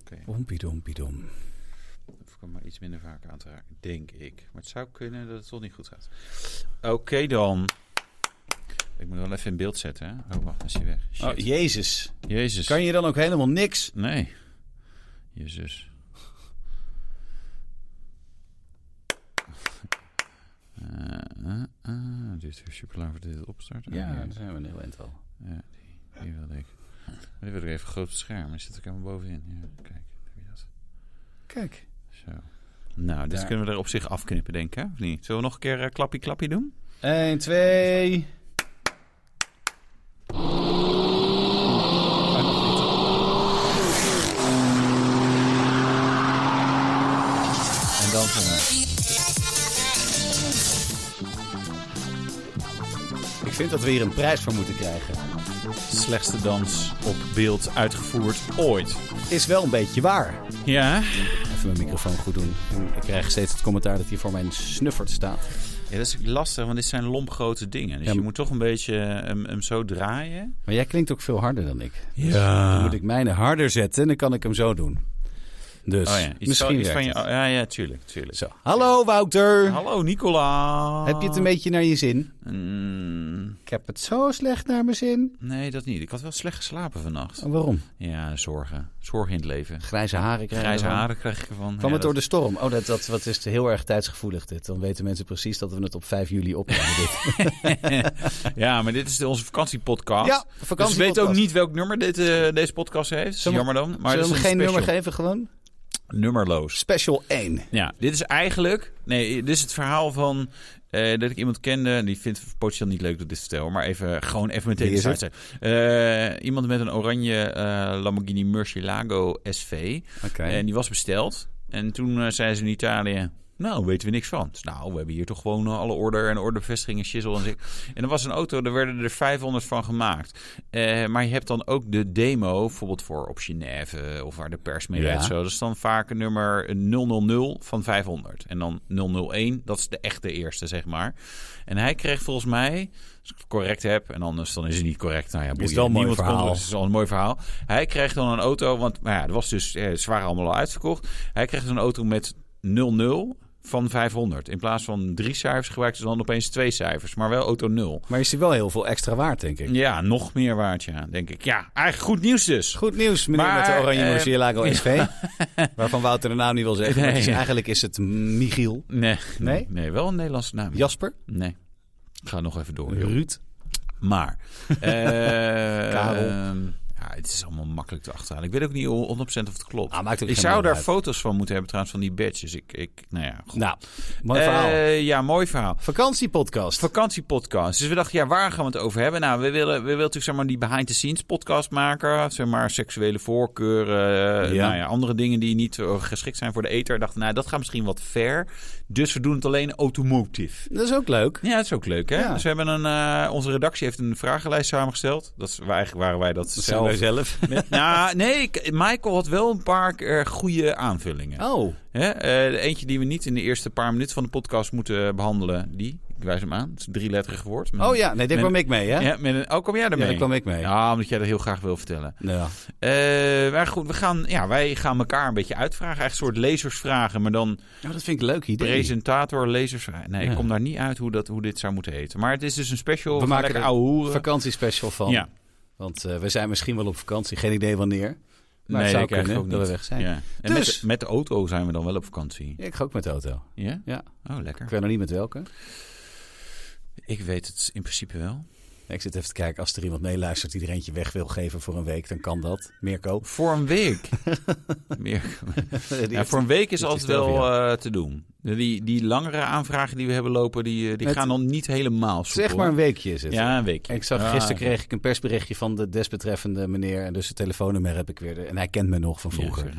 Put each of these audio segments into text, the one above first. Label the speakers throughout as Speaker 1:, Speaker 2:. Speaker 1: Oké.
Speaker 2: Ompidompidom.
Speaker 1: Dat hoef ik hem maar iets minder vaak aan te raken, denk ik. Maar het zou kunnen dat het toch niet goed gaat. Oké dan. Ik moet wel even in beeld zetten, hè? Oh, wacht, dan is hij weg. Shit.
Speaker 2: Oh, jezus.
Speaker 1: Jezus.
Speaker 2: Kan je dan ook helemaal niks?
Speaker 1: Nee. Jezus. Eh, eh, eh, Dit is super lang voor dit opstarten.
Speaker 2: daar zijn we een heel eind al.
Speaker 1: Ja, die, die wilde ik. Die wil ik even groot op het scherm. Dan zit ik helemaal bovenin. Ja, kijk, daar heb je dat.
Speaker 2: Kijk.
Speaker 1: Zo. Nou, dit
Speaker 2: Daar.
Speaker 1: kunnen we er op zich afknippen, denk ik, hè? Of niet? Zullen we nog een keer eh, klappie klappie doen?
Speaker 2: 1, 2.
Speaker 1: En dan van mij.
Speaker 2: Ik vind dat we hier een prijs voor moeten krijgen.
Speaker 1: Slechtste dans op beeld uitgevoerd ooit.
Speaker 2: Is wel een beetje waar.
Speaker 1: Ja?
Speaker 2: Even mijn microfoon goed doen. Ik krijg steeds het commentaar dat hier voor mijn snuffert staat.
Speaker 1: Ja, dat is lastig, want dit zijn lompgrote dingen. Dus
Speaker 2: Ja,
Speaker 1: je
Speaker 2: maar-
Speaker 1: moet toch een beetje eh, hem, hem zo draaien. Dus
Speaker 2: Maar jij klinkt ook veel harder dan ik. Dan
Speaker 1: Ja.
Speaker 2: moet ik mijne harder zetten en dan kan ik hem zo doen. Dus
Speaker 1: Oh ja, iets
Speaker 2: misschien
Speaker 1: zo- iets van
Speaker 2: werkt
Speaker 1: je.
Speaker 2: het.
Speaker 1: oh, ja, ja, tuurlijk, tuurlijk.
Speaker 2: Zo. Hallo Wouter.
Speaker 1: Hallo Nicola.
Speaker 2: Heb je het een beetje naar je zin?
Speaker 1: Mm,
Speaker 2: Ik heb het zo slecht naar mijn zin.
Speaker 1: nee, dat niet. Ik had wel slecht geslapen vannacht.
Speaker 2: Oh, waarom?
Speaker 1: Ja, zorgen. Zorgen in het leven.
Speaker 2: Grijze haren krijgen.
Speaker 1: Grijze
Speaker 2: we.
Speaker 1: haren krijg ik ervan.
Speaker 2: Kwam
Speaker 1: Ja,
Speaker 2: het door de storm? Oh, dat, dat wat is heel erg tijdsgevoelig dit. Dan weten mensen precies dat we het op 5 juli opnemen. dit.
Speaker 1: dat- Ja, maar dit is de- onze vakantiepodcast.
Speaker 2: Ja,
Speaker 1: Dus ik
Speaker 2: vakantie.
Speaker 1: weet ook niet welk nummer dit, eh, deze podcast heeft.
Speaker 2: Zullen we-
Speaker 1: Jammer dan. Maar
Speaker 2: Maar
Speaker 1: dit
Speaker 2: Zullen
Speaker 1: is
Speaker 2: we
Speaker 1: een
Speaker 2: hem geen
Speaker 1: special.
Speaker 2: nummer geven gewoon?
Speaker 1: Nummerloos.
Speaker 2: Special 1.
Speaker 1: Ja, dit is eigenlijk. Nee, dit is het verhaal van. eh, dat ik iemand kende, die vindt het potentieel niet leuk dat ik dit vertel, maar even gewoon even meteen
Speaker 2: Wie
Speaker 1: de
Speaker 2: is het?
Speaker 1: site zeggen. Eh, iemand met een oranje eh, Lamborghini Murcielago SV.
Speaker 2: Oké.
Speaker 1: En die was besteld. En toen eh, zei ze in Italië. Nou, weten we niks van. Dus, nou, we hebben hier toch gewoon eh, alle order en orderbevestiging en shizzle en zik. En er was een auto, daar werden er 500 van gemaakt. Eh, maar je hebt dan ook de demo, bijvoorbeeld voor op Genève eh, of waar de pers mee
Speaker 2: Ja.
Speaker 1: redt. Zo. Dat is dan vaak een nummer een 000 van 500. En dan 001, dat is de echte eerste, zeg maar. En hij kreeg volgens mij, als ik het correct heb, en anders dan is het niet correct. Nou ja, boeien.
Speaker 2: wel een mooi
Speaker 1: Niemand kon-
Speaker 2: verhaal.
Speaker 1: het is al een mooi verhaal. Hij kreeg dan een auto, want maar ja, er was dus, eh, ze waren allemaal al uitverkocht. Hij kreeg dus een auto met 00 van 500. In plaats van drie cijfers gebruikten ze dan opeens twee cijfers, maar wel auto 0.
Speaker 2: Maar is die wel heel veel extra waard, denk ik.
Speaker 1: Ja, nog meer waard, ja, denk ik. Ja, eigenlijk goed nieuws dus.
Speaker 2: Goed nieuws, meneer
Speaker 1: Maar,
Speaker 2: met de oranje
Speaker 1: eh,
Speaker 2: Murcielago SV. Waarvan Wouter de naam niet wil zeggen. maar het is-
Speaker 1: Nee.
Speaker 2: eigenlijk is het Michiel.
Speaker 1: Nee, nee,
Speaker 2: Nee?
Speaker 1: nee, wel een Nederlandse naam.
Speaker 2: Jasper.
Speaker 1: Nee. Ik ga nog even door. joh.
Speaker 2: Ruud.
Speaker 1: Maar. eh,
Speaker 2: Karel.
Speaker 1: ehm, ja, het is allemaal makkelijk te achterhalen. Ik weet ook niet 100% of het klopt.
Speaker 2: Ah, maakt ook
Speaker 1: ik
Speaker 2: geen
Speaker 1: zou
Speaker 2: bal
Speaker 1: daar
Speaker 2: uit.
Speaker 1: foto's van moeten hebben trouwens van die badges. Ik, ik, nou ja, goed.
Speaker 2: Nou, mooi verhaal.
Speaker 1: Eh, ja, mooi verhaal.
Speaker 2: Vakantiepodcast.
Speaker 1: Vakantiepodcast. Dus we dachten, ja, waar gaan we het over hebben? Nou, we willen, we willen natuurlijk zeg maar, die behind-the-scenes podcast maken. Zeg maar seksuele voorkeuren. eh,
Speaker 2: Ja.
Speaker 1: Nou ja, andere dingen die niet eh, geschikt zijn voor de eter. We dachten, nou, dat gaat misschien wat ver. Dus we doen het alleen automotive.
Speaker 2: Dat is ook leuk.
Speaker 1: Ja, dat is ook leuk, hè?
Speaker 2: Ja.
Speaker 1: Dus we hebben een, eh, onze redactie heeft een vragenlijst samengesteld. Dat is, waar- eigenlijk waren wij dat, zelf.
Speaker 2: zelf.
Speaker 1: Nou, nee, ik- Michael had wel een paar keer goede aanvullingen.
Speaker 2: Oh,
Speaker 1: Hè? Eh, de eentje die we niet in de eerste paar minuten van de podcast moeten eh, behandelen, die. Ik wijs hem aan. Het is een drieletterig woord. Met
Speaker 2: oh
Speaker 1: een-
Speaker 2: ja. Nee, daar kwam ik mee, hè?
Speaker 1: Ja, met een, oh, kom jij
Speaker 2: Ja,
Speaker 1: daarmee?
Speaker 2: daar kwam ik mee.
Speaker 1: Ja, omdat jij dat heel graag wil vertellen.
Speaker 2: Ja.
Speaker 1: Eh, maar goed, we gaan, ja, wij gaan elkaar een beetje uitvragen. Echt een soort lezersvragen, maar dan
Speaker 2: Oh, dat vind ik een leuk idee.
Speaker 1: presentator, lezersvragen. Nee,
Speaker 2: Ja.
Speaker 1: ik kom daar niet uit hoe, dat, hoe dit zou moeten heten. Maar het is dus een special.
Speaker 2: We
Speaker 1: gaan
Speaker 2: maken
Speaker 1: lekker
Speaker 2: er
Speaker 1: ouwe hoeren.
Speaker 2: vakantiespecial van.
Speaker 1: Ja,
Speaker 2: Want eh, we zijn misschien wel op vakantie. Geen idee wanneer. Maar
Speaker 1: Nee,
Speaker 2: het zou
Speaker 1: ik eigenlijk
Speaker 2: kunnen
Speaker 1: ook
Speaker 2: dat
Speaker 1: niet.
Speaker 2: we weg zijn.
Speaker 1: ja. En
Speaker 2: Dus-
Speaker 1: met, met de auto zijn we dan wel op vakantie.
Speaker 2: Ja, ik ga ook met de auto.
Speaker 1: Ja?
Speaker 2: Ja.
Speaker 1: Oh,
Speaker 2: Ik
Speaker 1: lekker.
Speaker 2: weet nog niet met welke.
Speaker 1: Ik weet het in principe wel.
Speaker 2: Ik zit even te kijken, als er iemand meeluistert die er eentje weg wil geven voor een week, dan kan dat. Mirko.
Speaker 1: Voor een week. Meer.
Speaker 2: Die
Speaker 1: Ja,
Speaker 2: heeft-
Speaker 1: voor een week is
Speaker 2: die
Speaker 1: altijd
Speaker 2: heeft die
Speaker 1: wel
Speaker 2: zelf,
Speaker 1: eh, te doen. Die, die langere aanvragen die we hebben lopen, die, eh, die
Speaker 2: Met-
Speaker 1: gaan dan niet helemaal soepel.
Speaker 2: Zeg maar een weekje is het.
Speaker 1: Ja, een weekje.
Speaker 2: Ik zag,
Speaker 1: Ja,
Speaker 2: gisteren
Speaker 1: ja.
Speaker 2: kreeg ik een persberichtje van de desbetreffende meneer. En dus het telefoonnummer heb ik weer. de- En hij kent me nog van vroeger.
Speaker 1: Ja,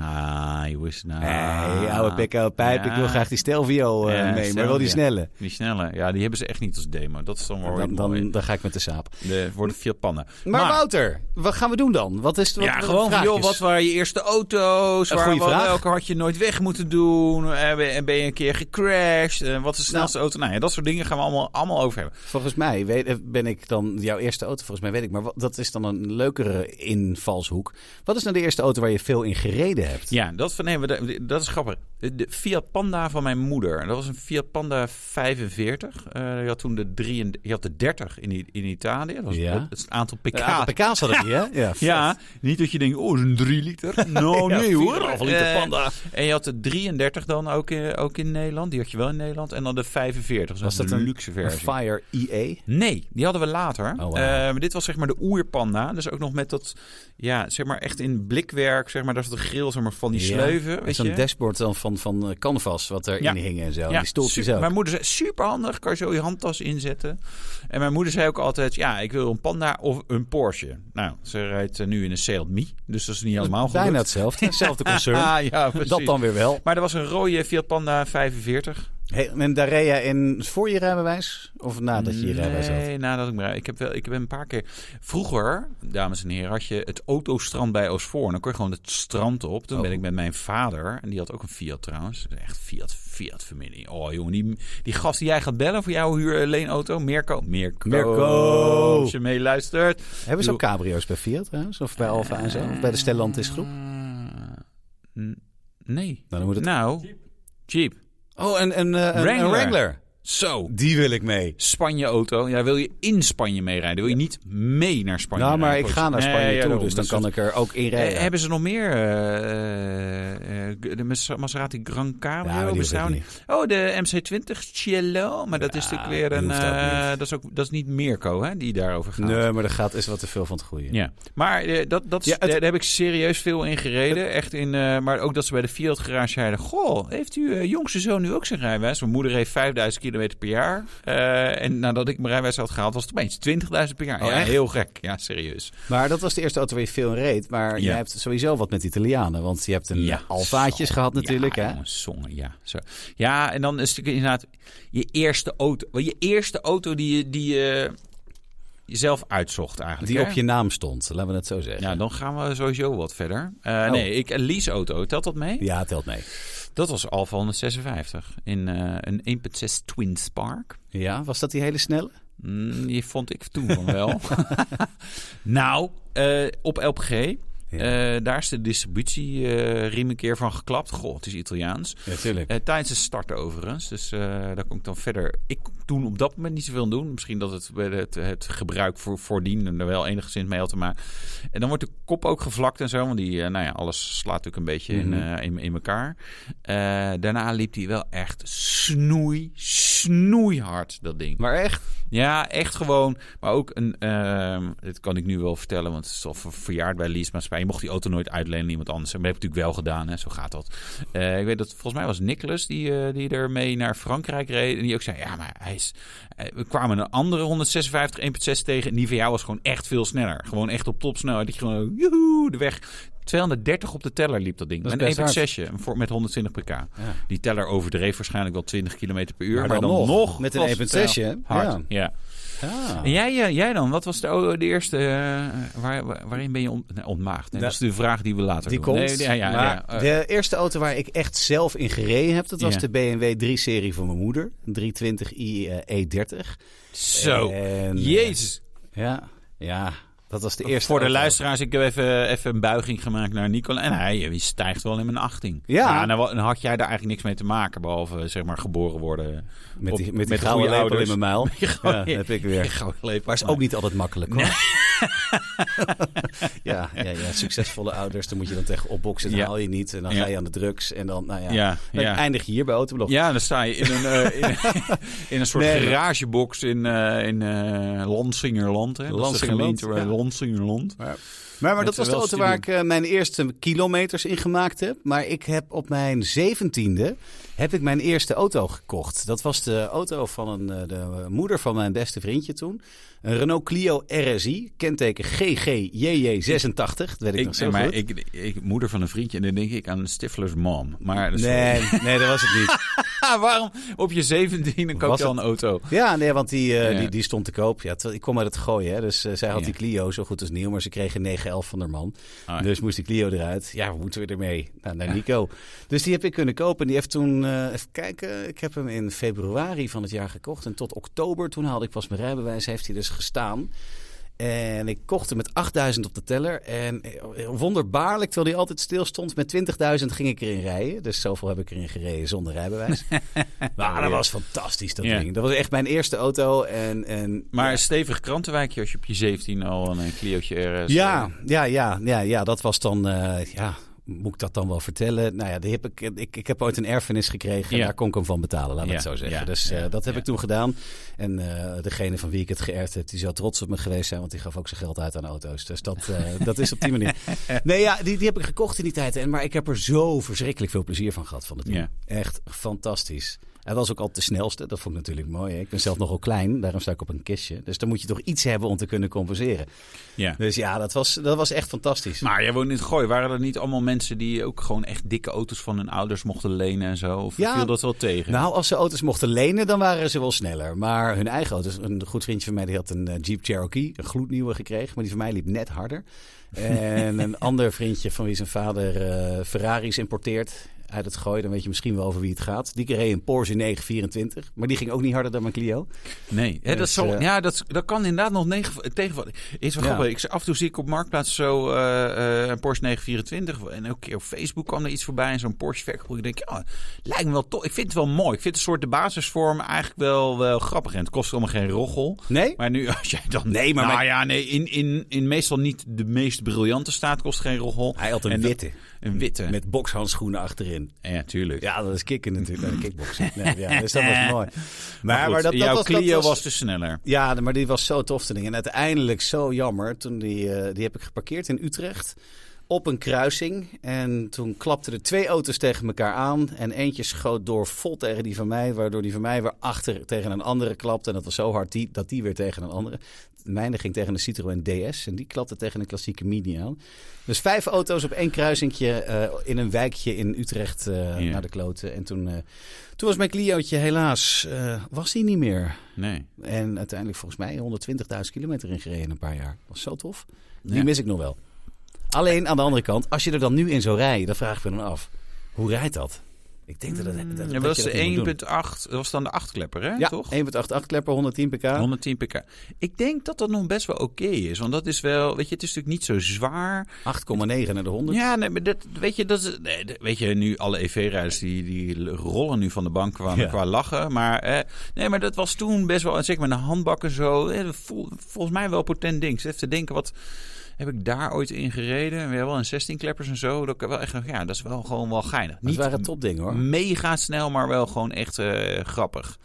Speaker 1: zeg, ah, hoe is het nou?
Speaker 2: hey, oude pik, oude pijp.
Speaker 1: Ja.
Speaker 2: Ik wil graag die Stelvio eh,
Speaker 1: Ja,
Speaker 2: mee, maar wel die
Speaker 1: Stelvio.
Speaker 2: snelle.
Speaker 1: Die snelle, ja, die hebben ze echt niet als demo. Dat is dan wel weer
Speaker 2: Dan, dan,
Speaker 1: mooi.
Speaker 2: dan ga ik met de Saab. aap.
Speaker 1: Er worden veel pannen.
Speaker 2: Maar, Wouter, wat gaan we doen dan? Wat is wat,
Speaker 1: ja,
Speaker 2: wat
Speaker 1: gewoon
Speaker 2: de
Speaker 1: van, joh,
Speaker 2: vraagjes?
Speaker 1: wat waren je eerste auto's?
Speaker 2: Een
Speaker 1: Waar,
Speaker 2: goede
Speaker 1: wat-
Speaker 2: vraag.
Speaker 1: Welke had je nooit weg moeten doen? Eh, ben- En ben je een keer gecrashed? Eh, Wat is de snelste auto? Nou ja, dat soort dingen gaan we allemaal, allemaal over hebben.
Speaker 2: Volgens mij weet, eh, ben ik dan jouw eerste auto. Volgens mij weet ik, maar wat, dat is dan een leukere invalshoek. Wat is nou de eerste auto waar je veel in gereden hebt?
Speaker 1: Ja, dat, van, nee, we- dat- dat is grappig. De de Fiat Panda van mijn moeder. Dat was een Fiat Panda 45. Eh je had toen de, 3, je had de 30 in, I- in Italië. Dat was
Speaker 2: Ja.
Speaker 1: het, het aantal pk.
Speaker 2: Een aantal pk's had ik, hè? Ja, Oh, vet.
Speaker 1: ja, niet dat je denkt, oh, is een 3 liter. Nou,
Speaker 2: Ja,
Speaker 1: nee hoor.
Speaker 2: 4,5 liter
Speaker 1: Eh,
Speaker 2: Panda.
Speaker 1: En je had de 33 dan ook in, ook in Nederland. Die had je wel in Nederland. En dan de 45.
Speaker 2: Was dat een
Speaker 1: luxe
Speaker 2: Een
Speaker 1: versie?
Speaker 2: Fire E EA.
Speaker 1: Nee, die hadden we later.
Speaker 2: wauw.
Speaker 1: Eh, maar dit was zeg maar de oerpanda. Dus ook nog met dat, ja, zeg maar echt in blikwerk. Zeg maar, dat is de grill zeg maar, van die
Speaker 2: Ja.
Speaker 1: sleuven. Weet
Speaker 2: Zo'n
Speaker 1: je?
Speaker 2: dashboard dan van, van eh, canvas wat erin
Speaker 1: Ja.
Speaker 2: hing en zo.
Speaker 1: Ja,
Speaker 2: die stoeltjes
Speaker 1: super,
Speaker 2: ook.
Speaker 1: Mijn moeder zei, super handig, kan je zo je handtas inzetten. En mijn moeder zei ook altijd, ja, ik wil een panda of een Porsche. Nou, ze rijdt eh, nu in een Seat Mii, dus dat is niet helemaal goed.
Speaker 2: Bijna hetzelfde. Hetzelfde concern.
Speaker 1: Ah, ja, precies.
Speaker 2: dat dan weer wel.
Speaker 1: Maar er was een rode Fiat Panda 45.
Speaker 2: Hey, en daar reed jij in voor je rijbewijs? Of nadat je je rijbewijs had?
Speaker 1: Nee, nadat ik me... Ik heb, wel, ik heb een paar keer... Vroeger, dames en heren, had je het autostrand bij Oostvoorn. Dan kon je gewoon het strand op. Toen
Speaker 2: Oh.
Speaker 1: ben ik met mijn vader... En die had ook een Fiat trouwens. Echt Fiat, Fiat-familie. Oh jongen, die, die gast die jij gaat bellen voor jouw huurleenauto. Merco. Merco.
Speaker 2: Mirko.
Speaker 1: Als je meeluistert.
Speaker 2: Hebben ze ook cabrio's bij Fiat trouwens? Of bij Alfa en zo? Of bij de Stellantis groep?
Speaker 1: Nee.
Speaker 2: Nou, dan moet het...
Speaker 1: Nou, Jeep.
Speaker 2: Oh, en, en, eh, een- een
Speaker 1: Wrangler.
Speaker 2: Wrangler.
Speaker 1: Zo.
Speaker 2: Die wil ik mee.
Speaker 1: Spanje-auto. Ja, wil je in Spanje meerijden? Wil je niet mee naar Spanje?
Speaker 2: nou, maar
Speaker 1: rijden?
Speaker 2: ik ga naar
Speaker 1: Nee,
Speaker 2: Spanje
Speaker 1: ja,
Speaker 2: toe,
Speaker 1: daarom.
Speaker 2: dus dan
Speaker 1: dat-
Speaker 2: kan ik er ook in
Speaker 1: Eh,
Speaker 2: rijden.
Speaker 1: hebben ze nog meer? eh, eh, de Mas- Maserati Gran Cabrio
Speaker 2: Ja, maar die hoef ik
Speaker 1: bestaan?
Speaker 2: niet.
Speaker 1: Oh, de MC20 Cielo. Maar dat is natuurlijk weer
Speaker 2: die
Speaker 1: een.
Speaker 2: hoeft ook
Speaker 1: eh,
Speaker 2: niet.
Speaker 1: dat, is ook, dat is niet Mirko hè, die daarover gaat.
Speaker 2: Nee, maar er gaat, is wat te veel van het goede.
Speaker 1: Ja, maar eh, dat, dat is,
Speaker 2: Ja, het-
Speaker 1: daar, daar heb ik serieus veel in gereden. Echt in, eh, maar ook dat ze bij de Fiat garage zeiden... Goh, heeft uw eh, jongste zoon nu ook zijn rijbewijs? Mijn moeder heeft 5000 kilometer per jaar. Eh, en nadat ik mijn rijbewijs had gehaald, was het opeens 20.000 per jaar.
Speaker 2: Oh,
Speaker 1: ja,
Speaker 2: echt?
Speaker 1: heel gek. Ja, serieus.
Speaker 2: Maar dat was de eerste auto waar je veel in reed. Maar
Speaker 1: Ja.
Speaker 2: je hebt sowieso wat met Italianen. Want je hebt een
Speaker 1: Ja,
Speaker 2: Alfaatjes
Speaker 1: zo.
Speaker 2: gehad natuurlijk.
Speaker 1: ja,
Speaker 2: hè?
Speaker 1: jongens, zongen, ja. Zo. Ja, en dan is het inderdaad je eerste auto. wel, Je eerste auto die je, die je jezelf uitzocht eigenlijk.
Speaker 2: Die
Speaker 1: hè?
Speaker 2: op je naam stond, laten we het zo zeggen.
Speaker 1: Ja, dan gaan we sowieso wat verder. Eh,
Speaker 2: Oh.
Speaker 1: Nee, ik, een leaseauto, telt dat mee?
Speaker 2: Ja, telt mee.
Speaker 1: Dat was Alfa 156 in eh, een 1.6 Twin Spark.
Speaker 2: Ja, was dat die hele snelle?
Speaker 1: Mm, die vond ik toen van wel. nou, eh, op LPG. eh, daar is de distributieriem een keer van geklapt. Goh, het is Italiaans.
Speaker 2: Natuurlijk.
Speaker 1: Eh, tijdens het starten overigens. Dus eh, daar kon ik dan verder... Ik kon toen op dat moment niet zoveel aan doen. Misschien dat het, bij het, het gebruik voor, voordien er wel enigszins mee had te maken. En dan wordt de kop ook gevlakt en zo. Want die, eh, nou ja, alles slaat natuurlijk een beetje in, eh, in, in elkaar. Eh, daarna liep hij wel echt snoei, snoeihard, dat ding.
Speaker 2: maar echt?
Speaker 1: Ja, echt gewoon. Maar ook een. ehm dit kan ik nu wel vertellen, want het is al ver- verjaard bij Lies Maatschappij. Je mocht die auto nooit uitlenen aan iemand anders. En dat heb ik natuurlijk wel gedaan, hè, zo gaat dat. Eh, ik weet dat volgens mij was Nicholas die, eh, die ermee naar Frankrijk reed. En die ook zei: Ja, maar hij is. eh, we kwamen een andere 156 1.6 tegen. En die van jou was gewoon echt veel sneller. Gewoon echt op topsnelheid. Dat je gewoon. Joehoe, de weg. 230 op de teller liep dat ding.
Speaker 2: Dat is
Speaker 1: met
Speaker 2: best
Speaker 1: een
Speaker 2: hard.
Speaker 1: 1.6'je en voor- met 120 pk. Die teller overdreef waarschijnlijk wel 20 km per uur. Maar, dan, nog,
Speaker 2: Met een
Speaker 1: was het
Speaker 2: 1.6, hè?
Speaker 1: wel Hard.
Speaker 2: Ja.
Speaker 1: ja.
Speaker 2: Ah.
Speaker 1: En jij, eh, jij dan? Wat was de, oh, de eerste... eh, waar, waar- waarin ben je ont, nee, ontmaagd? Nee,
Speaker 2: Ja.
Speaker 1: dat is de vraag die we later
Speaker 2: Nou, Die
Speaker 1: doen.
Speaker 2: komt.
Speaker 1: Nee, ja, ja, ja.
Speaker 2: maar
Speaker 1: Eh,
Speaker 2: De eerste auto waar ik echt zelf in gereden heb, dat was
Speaker 1: Ja.
Speaker 2: de BMW 3-serie van mijn moeder. 320i eh, E30.
Speaker 1: zo.
Speaker 2: En, eh,
Speaker 1: Jezus.
Speaker 2: Ja, ja, dat was de eerste
Speaker 1: Voor de
Speaker 2: auto.
Speaker 1: luisteraars, ik heb even, even een buiging gemaakt naar Nicola. En hij eh, stijgt wel in mijn achting.
Speaker 2: Ja.
Speaker 1: nou, wa- dan had jij daar eigenlijk niks mee te maken, behalve eh, zeg maar geboren worden.
Speaker 2: Met
Speaker 1: op-
Speaker 2: die, met die
Speaker 1: de
Speaker 2: gouden
Speaker 1: goede
Speaker 2: lepel in
Speaker 1: ouders.
Speaker 2: mijn muil. Ja,
Speaker 1: gouden-
Speaker 2: heb ik weer.
Speaker 1: Gauw leep.
Speaker 2: Maar is ook niet altijd makkelijk hoor. ja, ja, ja, succesvolle ouders, daar moet je dan tegen opboksen. Dan
Speaker 1: Ja.
Speaker 2: haal je niet en dan
Speaker 1: Ja.
Speaker 2: ga je aan de drugs. En dan, nou ja,
Speaker 1: Ja,
Speaker 2: dan
Speaker 1: ja.
Speaker 2: eindig je hier bij Autoblog.
Speaker 1: Ja, dan sta je in een, eh, in, een- in een soort
Speaker 2: Nee.
Speaker 1: garagebox in, eh in eh Lansingerland. Hè? Dat is de
Speaker 2: Lansingerland,
Speaker 1: gemeente waar-
Speaker 2: ja.
Speaker 1: Lansingerland.
Speaker 2: Maar, maar
Speaker 1: Met
Speaker 2: dat was de
Speaker 1: wel
Speaker 2: auto waar ik eh, mijn eerste kilometers in gemaakt heb. Maar ik heb op mijn zeventiende heb ik mijn eerste auto gekocht. Dat was de auto van een, eh, de moeder van mijn beste vriendje toen. Een Renault Clio RSI, kenteken GGJJ86. Dat weet ik, nog
Speaker 1: Ik,
Speaker 2: zo
Speaker 1: maar
Speaker 2: goed.
Speaker 1: ik, ik, moeder van een vriendje en dan denk ik aan Stifler's mom. Maar dat is-
Speaker 2: Nee, nee, dat was het niet.
Speaker 1: Waarom op je 17 koop
Speaker 2: Was
Speaker 1: je al een auto?
Speaker 2: Ja, nee, want die, eh,
Speaker 1: Ja.
Speaker 2: Die, die stond te koop. Ja, terwijl- ik kom uit het gooien, hè, dus eh, zij had
Speaker 1: Ja.
Speaker 2: die Clio zo goed als nieuw, maar ze kreeg een 911 van haar man.
Speaker 1: Ah, ja.
Speaker 2: Dus moest die Clio eruit. Ja, hoe moeten we ermee? Nou, naar Nico. Dus die heb ik kunnen kopen. Die heeft toen, eh, even kijken, ik heb hem in februari van het jaar gekocht. En tot oktober, toen haalde ik pas mijn rijbewijs, heeft hij dus gestaan. En ik kocht hem met 8000 op de teller. En eh, wonderbaarlijk, terwijl hij altijd stil stond, met 20.000 ging ik erin rijden. Dus zoveel heb ik erin gereden zonder rijbewijs. maar dat was fantastisch, dat
Speaker 1: Ja.
Speaker 2: ding. Dat was echt mijn eerste auto. En, en,
Speaker 1: Maar een stevig krantenwijkje als je op je 17 al een eh, Clio'tje RS...
Speaker 2: ja, ja, ja, ja, ja, dat was dan. eh, ja, moet ik dat dan wel vertellen? Nou ja, die heb ik, ik, ik heb ooit een erfenis gekregen.
Speaker 1: Ja.
Speaker 2: Daar kon ik hem van betalen, laat ik
Speaker 1: Ja,
Speaker 2: het zo zeggen.
Speaker 1: ja,
Speaker 2: dus eh,
Speaker 1: ja,
Speaker 2: dat heb
Speaker 1: ja.
Speaker 2: ik toen gedaan. En eh, degene van wie ik het geërfd heb, die zou trots op me geweest zijn. Want die gaf ook zijn geld uit aan auto's. Dus dat, eh, dat is op die manier. Nee, ja, die, die heb ik gekocht in die tijd. En, maar ik heb er zo verschrikkelijk veel plezier van gehad van het ding.
Speaker 1: eh, Ja.
Speaker 2: Echt fantastisch. Hij was ook al de snelste. Dat vond ik natuurlijk mooi. hè. Ik ben zelf nogal klein. Daarom sta ik op een kistje. Dus dan moet je toch iets hebben om te kunnen compenseren.
Speaker 1: ja.
Speaker 2: Dus ja, dat was, dat was echt fantastisch.
Speaker 1: Maar jij woont in het Gooi. Waren er niet allemaal mensen die ook gewoon echt dikke auto's van hun ouders mochten lenen en zo? Of
Speaker 2: Ja.
Speaker 1: viel dat wel tegen?
Speaker 2: nou, als ze auto's mochten lenen, dan waren ze wel sneller. Maar hun eigen auto's. Een goed vriendje van mij die had een eh, Jeep Cherokee, een gloednieuwe gekregen. Maar die van mij liep net harder. En een ander vriendje van wie zijn vader eh, Ferraris importeert uit het gooien. Dan weet je misschien wel over wie het gaat. Die kreeg een Porsche 924. Maar die ging ook niet harder dan mijn Clio.
Speaker 1: Nee, hè, dat
Speaker 2: Dus,
Speaker 1: zal,
Speaker 2: eh,
Speaker 1: ja, dat, dat kan inderdaad nog negen, tegenvallen. Is wel
Speaker 2: Ja.
Speaker 1: grappig. Ik, af en toe zie ik op Marktplaats zo eh, eh, een Porsche 924. En ook keer op Facebook kwam er iets voorbij. En zo'n Porsche verkoop. Ik denk, ja, lijkt me wel tof. Ik vind het wel mooi. Ik vind het soort de basisvorm eigenlijk wel, wel grappig. En het kost allemaal geen roggel.
Speaker 2: Nee?
Speaker 1: Maar nu, als jij dan...
Speaker 2: Nee, maar
Speaker 1: Nou
Speaker 2: mijn-
Speaker 1: ja, nee, in, in, in meestal niet de meest briljante staat kost geen roggel.
Speaker 2: Hij had een
Speaker 1: En dat-
Speaker 2: witte.
Speaker 1: Een witte.
Speaker 2: Met bokshandschoenen achterin.
Speaker 1: Ja, tuurlijk.
Speaker 2: Ja, dat is kicken natuurlijk. Nee, kickboksen. Nee, ja, dus dat was mooi. Maar,
Speaker 1: Goed,
Speaker 2: maar dat, dat
Speaker 1: jouw
Speaker 2: was- dat
Speaker 1: Clio was, dus sneller.
Speaker 2: Ja, maar die was zo tof. dat ding. En uiteindelijk zo jammer. Toen die, eh, die heb ik geparkeerd in Utrecht. Op een kruising. En toen klapten er twee auto's tegen elkaar aan. En eentje schoot door vol tegen die van mij. Waardoor die van mij weer achter tegen een andere klapte. En dat was zo hard die, dat die weer tegen een andere. Mijne ging tegen een Citroën DS. En die klapte tegen een klassieke Mini aan. Dus vijf auto's op één kruisingje eh, in een wijkje in Utrecht eh,
Speaker 1: Ja.
Speaker 2: naar de kloten. En toen, eh, toen was mijn Clio'tje helaas, eh, was die niet meer.
Speaker 1: Nee.
Speaker 2: En uiteindelijk volgens mij 120.000 kilometer in gereden in een paar jaar. was zo tof. Die
Speaker 1: Ja.
Speaker 2: mis ik nog wel. Alleen aan de andere kant, als je er dan nu in zou rijden, dan vraag ik me dan af. Hoe rijdt dat? Ik denk dat dat... dat, dat,
Speaker 1: Ja,
Speaker 2: je
Speaker 1: dat was
Speaker 2: dat
Speaker 1: de
Speaker 2: niet moet
Speaker 1: 1.8.
Speaker 2: doen.
Speaker 1: Dat was dan de achtklepper, hè?
Speaker 2: Ja,
Speaker 1: toch?
Speaker 2: 1.88 klepper, 110 pk.
Speaker 1: 110 pk. Ik denk dat dat nog best wel oké is. Want dat is wel, weet je, het is natuurlijk niet zo zwaar.
Speaker 2: 8,9 naar de 100.
Speaker 1: Ja, nee, maar dat, weet je, dat is, nee, dat- weet je, nu alle EV-rijders die, die rollen nu van de bank qua,
Speaker 2: Ja.
Speaker 1: qua lachen. Maar, eh, nee, maar dat was toen best wel, en zeker met een handbak en zo, eh, dat voel- volgens mij wel een potent ding. Ik zit even te denken, wat heb ik daar ooit in gereden? We hebben wel een 16-kleppers en zo. Dat, ik wel echt, ja, dat is wel gewoon wel geinig.
Speaker 2: Dat
Speaker 1: Niet Mm.
Speaker 2: waren topdingen hoor.
Speaker 1: mega snel, maar wel gewoon echt eh, grappig.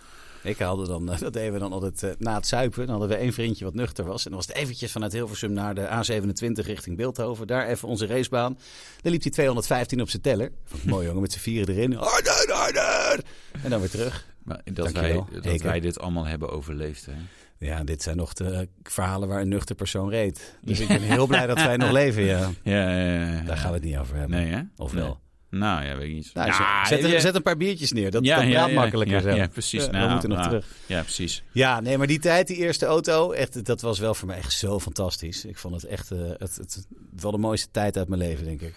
Speaker 2: Ik haalde dan, eh, dat deden we dan altijd eh, na het zuipen. Dan hadden we één vriendje wat nuchter was. En dan was het eventjes vanuit Hilversum naar de A27 richting Beeldhoven. Daar even onze racebaan. Dan liep hij 215 op zijn teller. Vond ik mooi jongen, met z'n vieren erin. Harder, harder! En dan weer terug.
Speaker 1: Maar dat, wij,
Speaker 2: Dankjewel.
Speaker 1: dat wij
Speaker 2: Eken.
Speaker 1: dit allemaal hebben overleefd, hè?
Speaker 2: Ja, dit zijn nog de eh, verhalen waar een nuchter persoon reed. Dus ik ben heel blij dat wij nog leven, ja.
Speaker 1: Ja, ja, ja, ja.
Speaker 2: Daar gaan we het niet over hebben.
Speaker 1: Nee, hè?
Speaker 2: Of wel?
Speaker 1: Nee. Nou, ja, weet ik niet.
Speaker 2: Nou,
Speaker 1: Ja,
Speaker 2: zet, zet,
Speaker 1: ja,
Speaker 2: er- zet een paar biertjes neer. Dat,
Speaker 1: ja,
Speaker 2: dat
Speaker 1: ja,
Speaker 2: praat
Speaker 1: ja,
Speaker 2: makkelijker
Speaker 1: ja,
Speaker 2: zo.
Speaker 1: ja, precies.
Speaker 2: Ja,
Speaker 1: Nou,
Speaker 2: we moeten nog
Speaker 1: nou,
Speaker 2: terug.
Speaker 1: Ja, precies.
Speaker 2: Ja, nee, maar die tijd, die eerste auto, echt, dat was wel voor mij echt zo fantastisch. Ik vond het echt eh, het, het, wel de mooiste tijd uit mijn leven, denk ik.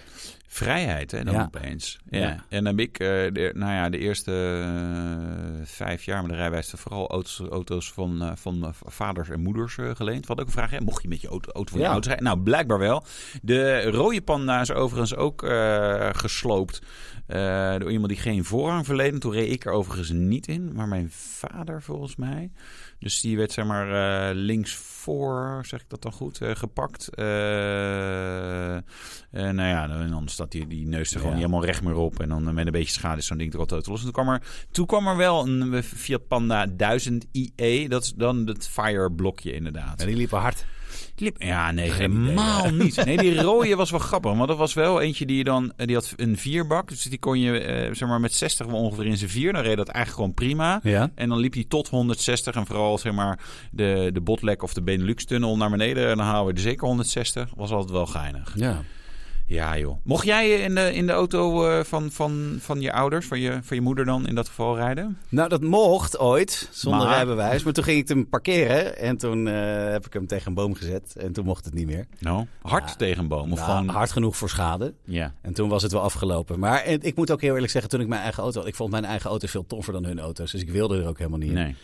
Speaker 1: Vrijheid, hè, dan
Speaker 2: Ja.
Speaker 1: opeens. Ja.
Speaker 2: Ja.
Speaker 1: En dan heb ik, eh, de, nou ja, de eerste eh, vijf jaar met de rijwijs vooral auto's, auto's van, eh, van eh, vaders en moeders eh, geleend. Wat ook een vraag, hè? mocht je met je auto, auto van je
Speaker 2: Ja.
Speaker 1: ouders rijden? Nou, blijkbaar wel. De rode panda is overigens ook eh, gesloopt eh, door iemand die geen voorrang verleden. Toen reed ik er overigens niet in, maar mijn vader volgens mij. Dus die werd zeg maar eh, links voor, zeg ik dat dan goed, eh, gepakt. Eh, eh, nou ja, en dan staat die, die neus er gewoon
Speaker 2: Ja.
Speaker 1: niet helemaal recht meer op. En dan eh, met een beetje schade is zo'n ding er altijd los. En toen kwam, er, toen kwam er wel een eh, Fiat Panda 1000 IE. Dat is dan het fire blokje inderdaad.
Speaker 2: En die liepen hard.
Speaker 1: Lip- Ja, nee,
Speaker 2: Geen
Speaker 1: helemaal niet. Nee, die rode was wel grappig. Maar dat was wel eentje die je dan... eh, Die had een vierbak. Dus die kon je eh, zeg maar met 60 wel ongeveer in zijn vier. Dan reed dat eigenlijk gewoon prima.
Speaker 2: Ja.
Speaker 1: En dan liep hij tot 160. En vooral zeg maar de, de Botlek of de Benelux-tunnel naar beneden. En dan halen we er zeker 160. Was altijd wel geinig.
Speaker 2: Ja.
Speaker 1: Ja, joh. Mocht jij in de, in de auto eh, van, van, van je ouders, van je, van je moeder dan in dat geval rijden?
Speaker 2: Nou, dat mocht ooit, zonder
Speaker 1: Maar-
Speaker 2: rijbewijs. Maar toen ging ik hem parkeren en toen eh, heb ik hem tegen een boom gezet. En toen mocht het niet meer.
Speaker 1: Nou, hard
Speaker 2: Ja.
Speaker 1: tegen een boom. Of
Speaker 2: Nou,
Speaker 1: gewoon...
Speaker 2: Hard genoeg voor schade.
Speaker 1: Ja.
Speaker 2: En toen was het wel afgelopen. Maar eh, ik moet ook heel eerlijk zeggen, toen ik mijn eigen auto had... Ik vond mijn eigen auto veel toffer dan hun auto's. Dus ik wilde er ook helemaal niet in.
Speaker 1: Nee.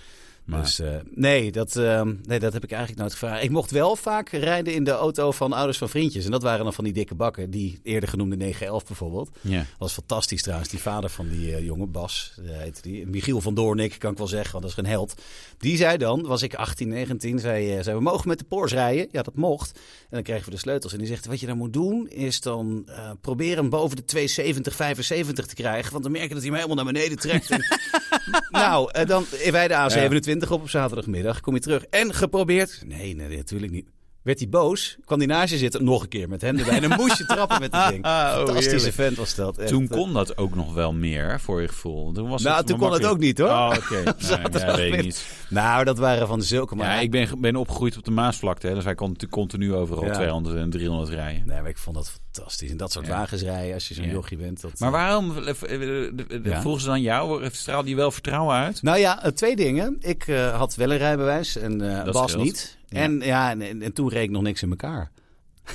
Speaker 1: Maar,
Speaker 2: Dus, eh, nee, dat, ehm, nee, dat heb ik eigenlijk nooit gevraagd. Ik mocht wel vaak rijden in de auto van ouders van vriendjes. En dat waren dan van die dikke bakken. Die eerder genoemde 911 bijvoorbeeld.
Speaker 1: ja.
Speaker 2: was fantastisch trouwens. Die vader van die eh, jongen, Bas, eh, heette die. Michiel van Doornik, kan ik wel zeggen, want dat is een held. Die zei dan, was ik 18, 19, zei, eh, zei we mogen met de Porsche rijden. Ja, dat mocht. En dan kregen we de sleutels. En die zegt, wat je dan moet doen, is dan eh, proberen hem boven de 270, 75 te krijgen. Want dan merk je dat hij hem helemaal naar beneden trekt. En- nou, eh, dan wij de A27 op op zaterdagmiddag, kom je terug. En geprobeerd, nee, nee, natuurlijk niet. Werd hij boos, kwam hij naast je zitten, nog een keer met hem erbij. En dan moest je trappen met die ding.
Speaker 1: Ah, oh,
Speaker 2: Fantastische
Speaker 1: heerlijk.
Speaker 2: vent was dat. echt. eh.
Speaker 1: Toen kon dat ook nog wel meer, hè, voor je gevoel. Toen was
Speaker 2: Nou,
Speaker 1: het
Speaker 2: toen
Speaker 1: maar
Speaker 2: kon het ook
Speaker 1: makkelijk.
Speaker 2: niet hoor.
Speaker 1: Oh, oké. Nee, ja, weet ik niet.
Speaker 2: Nou, dat waren van zulke maar.
Speaker 1: Maar ik ben, ben opgegroeid op de Maasvlakte, hè, dus wij kon natuurlijk continu overal
Speaker 2: Ja.
Speaker 1: 200 en 300 rijden.
Speaker 2: Nee, maar ik vond dat fantastisch. En dat soort
Speaker 1: Ja.
Speaker 2: wagens rijden als je zo'n
Speaker 1: Ja.
Speaker 2: jochie bent. Dat...
Speaker 1: Maar waarom eh, eh, eh,
Speaker 2: Ja.
Speaker 1: vroegen ze dan jou? Straalde je wel vertrouwen uit?
Speaker 2: Nou ja, eh, twee dingen. Ik eh, had wel een rijbewijs en eh,
Speaker 1: Dat
Speaker 2: Bas
Speaker 1: scheelt.
Speaker 2: niet.
Speaker 1: Ja.
Speaker 2: En, ja, en- en, en toen reed ik nog niks in elkaar.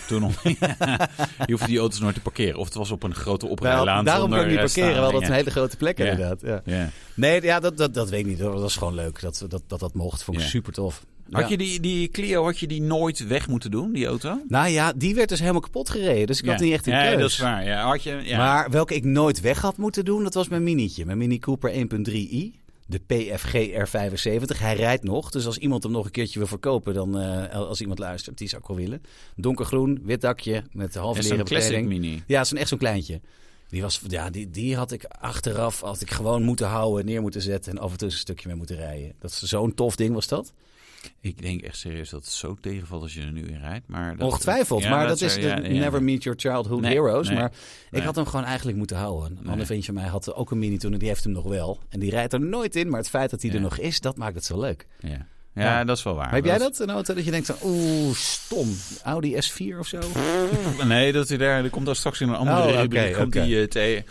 Speaker 1: Toen nog. je hoefde die auto's nooit te parkeren. Of het was op een grote
Speaker 2: Wel,
Speaker 1: oprijlaan
Speaker 2: Nou, daarom
Speaker 1: zonder
Speaker 2: kon ik niet
Speaker 1: eh,
Speaker 2: parkeren, wel dat
Speaker 1: staringen.
Speaker 2: een hele grote plek
Speaker 1: Ja.
Speaker 2: inderdaad. Ja.
Speaker 1: Ja.
Speaker 2: Nee, ja, dat, dat, dat weet ik niet hoor. Dat was gewoon leuk dat dat, dat, dat mocht. Vond ik
Speaker 1: Ja.
Speaker 2: super tof.
Speaker 1: Had je die, die Clio had je die nooit weg moeten doen, die auto?
Speaker 2: Nou ja, die werd dus helemaal kapot gereden. Dus ik had
Speaker 1: Ja.
Speaker 2: niet echt een
Speaker 1: ja,
Speaker 2: keus.
Speaker 1: dat is waar. Ja, had je, ja.
Speaker 2: Maar welke ik nooit weg had moeten doen, dat was mijn minietje. Mijn Mini Cooper 1.3i. De PFG R75. Hij rijdt nog. Dus als iemand hem nog een keertje wil verkopen, dan eh, als iemand luistert, die zou ik wel willen. Donkergroen, wit dakje met de halve
Speaker 1: en
Speaker 2: leren
Speaker 1: zo'n classic
Speaker 2: bekleding.
Speaker 1: mini.
Speaker 2: Ja, het is een echt zo'n kleintje. Die, was, ja, die, die had ik achteraf had ik gewoon moeten houden, neer moeten zetten en af en toe eens een stukje mee moeten rijden. Dat is zo'n tof ding was dat.
Speaker 1: Ik denk echt serieus dat het zo tegenvalt als je er nu in rijdt. Maar dat,
Speaker 2: Ongetwijfeld,
Speaker 1: Ja,
Speaker 2: maar dat, is
Speaker 1: zou- ja,
Speaker 2: de
Speaker 1: ja.
Speaker 2: never meet your childhood
Speaker 1: Nee,
Speaker 2: heroes.
Speaker 1: nee,
Speaker 2: maar
Speaker 1: nee.
Speaker 2: ik had hem gewoon eigenlijk moeten houden. Een ander
Speaker 1: Nee.
Speaker 2: vriendje van mij had ook een mini toen en die heeft hem nog wel. En die rijdt er nooit in, maar het feit dat hij er
Speaker 1: Ja.
Speaker 2: nog is, dat maakt het zo leuk.
Speaker 1: Ja. Ja,
Speaker 2: Ja.
Speaker 1: dat is wel waar.
Speaker 2: Maar heb jij
Speaker 1: is-
Speaker 2: dat, een auto dat je denkt van, oeh, stom, Audi S4 of zo?
Speaker 1: Nee, dat hij daar, dat komt daar straks in een andere
Speaker 2: Oh, oké,
Speaker 1: rubriek. Komt
Speaker 2: oké.
Speaker 1: die, eh, tegen.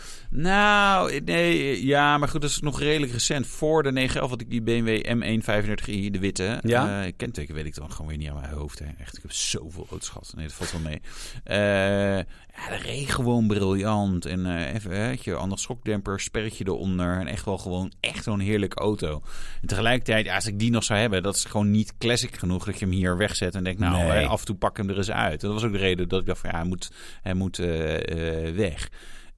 Speaker 1: Nou, nee, ja, maar goed, dat is nog redelijk recent. Voor de 911 had ik die BMW M135i, de witte.
Speaker 2: Ja.
Speaker 1: Eh, kenteken weet ik dan gewoon weer niet aan mijn hoofd. Hè. Echt, ik heb zoveel auto's gehad. Nee, dat valt wel mee. Eh ja, de reed gewoon briljant. En eh even, hè, weet je, ander schokdemper, sperretje eronder. En echt wel gewoon, echt zo'n heerlijke auto. En tegelijkertijd, ja, als ik die nog zou hebben, dat is gewoon niet classic genoeg dat je hem hier wegzet en denkt, nou,
Speaker 2: Nee.
Speaker 1: eh, af en toe pak ik hem er eens uit. Dat was ook de reden dat ik dacht van, ja, hij moet, hij moet eh, eh, weg.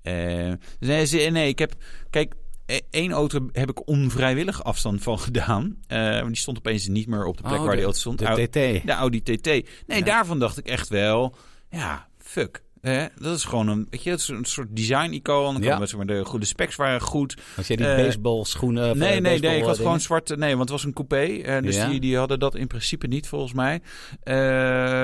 Speaker 1: Eh, dus nee, ze- nee, ik heb, kijk, e- één auto heb ik onvrijwillig afstand van gedaan. Eh, want die stond opeens niet meer op de plek
Speaker 2: Oh,
Speaker 1: waar die auto stond. Au-
Speaker 2: De TT.
Speaker 1: de Audi TT. Nee,
Speaker 2: Ja.
Speaker 1: daarvan dacht ik echt wel, ja, fuck. Hè, dat is gewoon een, weet je, dat is een soort design-icoon. Dan
Speaker 2: Ja.
Speaker 1: kwamen ze maar De goede specs waren goed.
Speaker 2: Had jij die
Speaker 1: Eh,
Speaker 2: baseball schoenen? of, eh,
Speaker 1: nee, nee, nee, ik
Speaker 2: baseball,
Speaker 1: had
Speaker 2: eh,
Speaker 1: gewoon zwart. Nee, want het was een coupé. eh, dus
Speaker 2: Ja.
Speaker 1: die, die hadden dat in principe niet, volgens mij. Eh,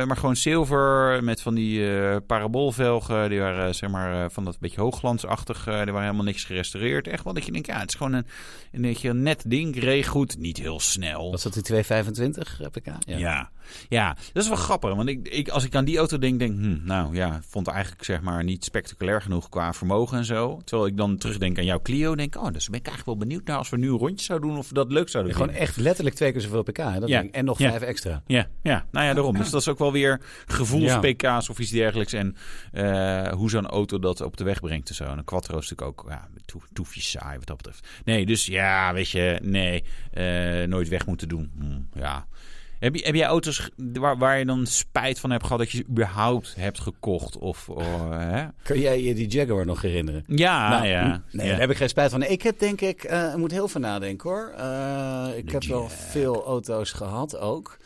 Speaker 1: maar gewoon zilver met van die eh, paraboolvelgen. Die waren, eh, zeg maar, eh, van dat beetje hoogglansachtig. eh, die waren helemaal niks gerestaureerd. Echt wel dat je denkt, ja, het is gewoon een, een, beetje een net ding. Reed goed, niet heel snel.
Speaker 2: dingen? Was dat die 225 pk?
Speaker 1: Ja. Ja. dat is wel grappig. Want ik, ik, als ik aan die auto denk, denk hm, nou ja, vond het eigenlijk zeg maar niet spectaculair genoeg qua vermogen en zo. Terwijl ik dan terugdenk aan jouw Clio, denk oh, dus ben ik eigenlijk wel benieuwd naar als we nu een rondje zouden doen of we dat leuk zouden doen.
Speaker 2: Gewoon echt letterlijk twee keer zoveel pk. hè, dat
Speaker 1: Ja.
Speaker 2: ding. En nog
Speaker 1: Ja.
Speaker 2: vijf extra.
Speaker 1: Ja, ja, nou ja, daarom. Dus dat is ook wel weer
Speaker 2: Ja.
Speaker 1: gevoels-PK's of iets dergelijks. En eh, hoe zo'n auto dat op de weg brengt en zo. En een Quattro is natuurlijk ook ja, toe- toefje saai wat dat betreft. Nee, dus ja, weet je, nee, eh, nooit weg moeten doen. Hm, ja. Heb, je, heb jij auto's ge- waar, waar je dan spijt van hebt gehad dat je ze überhaupt hebt gekocht? Of, oh, hè?
Speaker 2: Kun jij je die Jaguar nog herinneren?
Speaker 1: Ja,
Speaker 2: Nou,
Speaker 1: ja.
Speaker 2: Nee,
Speaker 1: ja.
Speaker 2: daar heb ik geen spijt van. Nee, Ik heb denk ik, eh, ik moet heel veel nadenken hoor. Eh, ik
Speaker 1: De
Speaker 2: heb wel
Speaker 1: Jack.
Speaker 2: veel auto's gehad ook.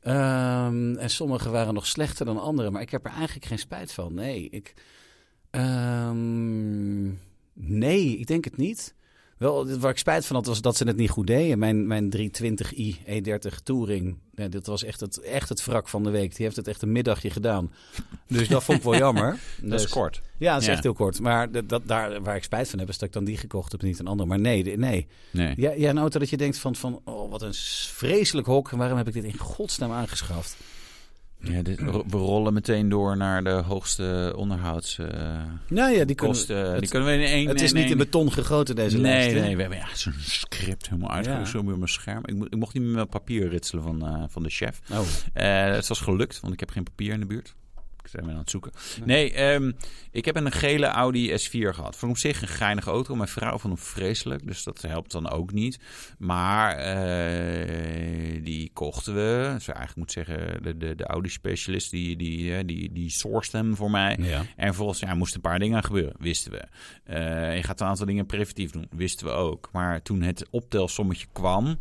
Speaker 2: Ehm, en sommige waren nog slechter dan andere, maar ik heb er eigenlijk geen spijt van. Nee, ik, ehm, nee, ik denk het niet. Wel, waar ik spijt van had, was dat ze het niet goed deden. Mijn, mijn 320i E30 E Touring, nee, dat was echt het, echt het wrak van de week. Die heeft het echt een middagje gedaan. Dus dat vond ik wel jammer.
Speaker 1: Dat is
Speaker 2: Dus-
Speaker 1: kort.
Speaker 2: ja, dat is
Speaker 1: Ja.
Speaker 2: echt heel kort. Maar dat, dat, daar waar ik spijt van heb, is dat ik dan die gekocht heb en niet een ander. Maar nee, de- nee.
Speaker 1: Nee.
Speaker 2: Ja, ja, een auto dat je denkt van, van oh, wat een s- vreselijk hok. Waarom heb ik dit in godsnaam aangeschaft?
Speaker 1: Ja, dit- ro- we rollen meteen door naar de hoogste onderhoudskosten.
Speaker 2: Nou ja, die
Speaker 1: kosten. die
Speaker 2: het-
Speaker 1: kunnen we in één...
Speaker 2: het is
Speaker 1: in
Speaker 2: niet
Speaker 1: één-
Speaker 2: in beton gegoten, deze lijst.
Speaker 1: Nee,
Speaker 2: hè?
Speaker 1: nee, we hebben ja, zo'n script helemaal uitgelegd zo op mijn scherm. Ik, mo- ik mocht niet meer met papier ritselen van, eh, van de chef.
Speaker 2: Oh.
Speaker 1: Eh, het was gelukt, want ik heb geen papier in de buurt. Ik ben aan het zoeken. Nee, ehm, ik heb een gele Audi S4 gehad. Voor op zich een geinige auto. Mijn vrouw vond hem vreselijk, dus dat helpt dan ook niet. Maar eh, die kochten we. Dus eigenlijk moet ik zeggen, de, de, de Audi-specialist die, die, eh, die, die sourced hem voor mij.
Speaker 2: Ja.
Speaker 1: En vervolgens ja, moesten een paar dingen gebeuren, wisten we. Eh, je gaat een aantal dingen preventief doen, wisten we ook. Maar toen het optelsommetje kwam,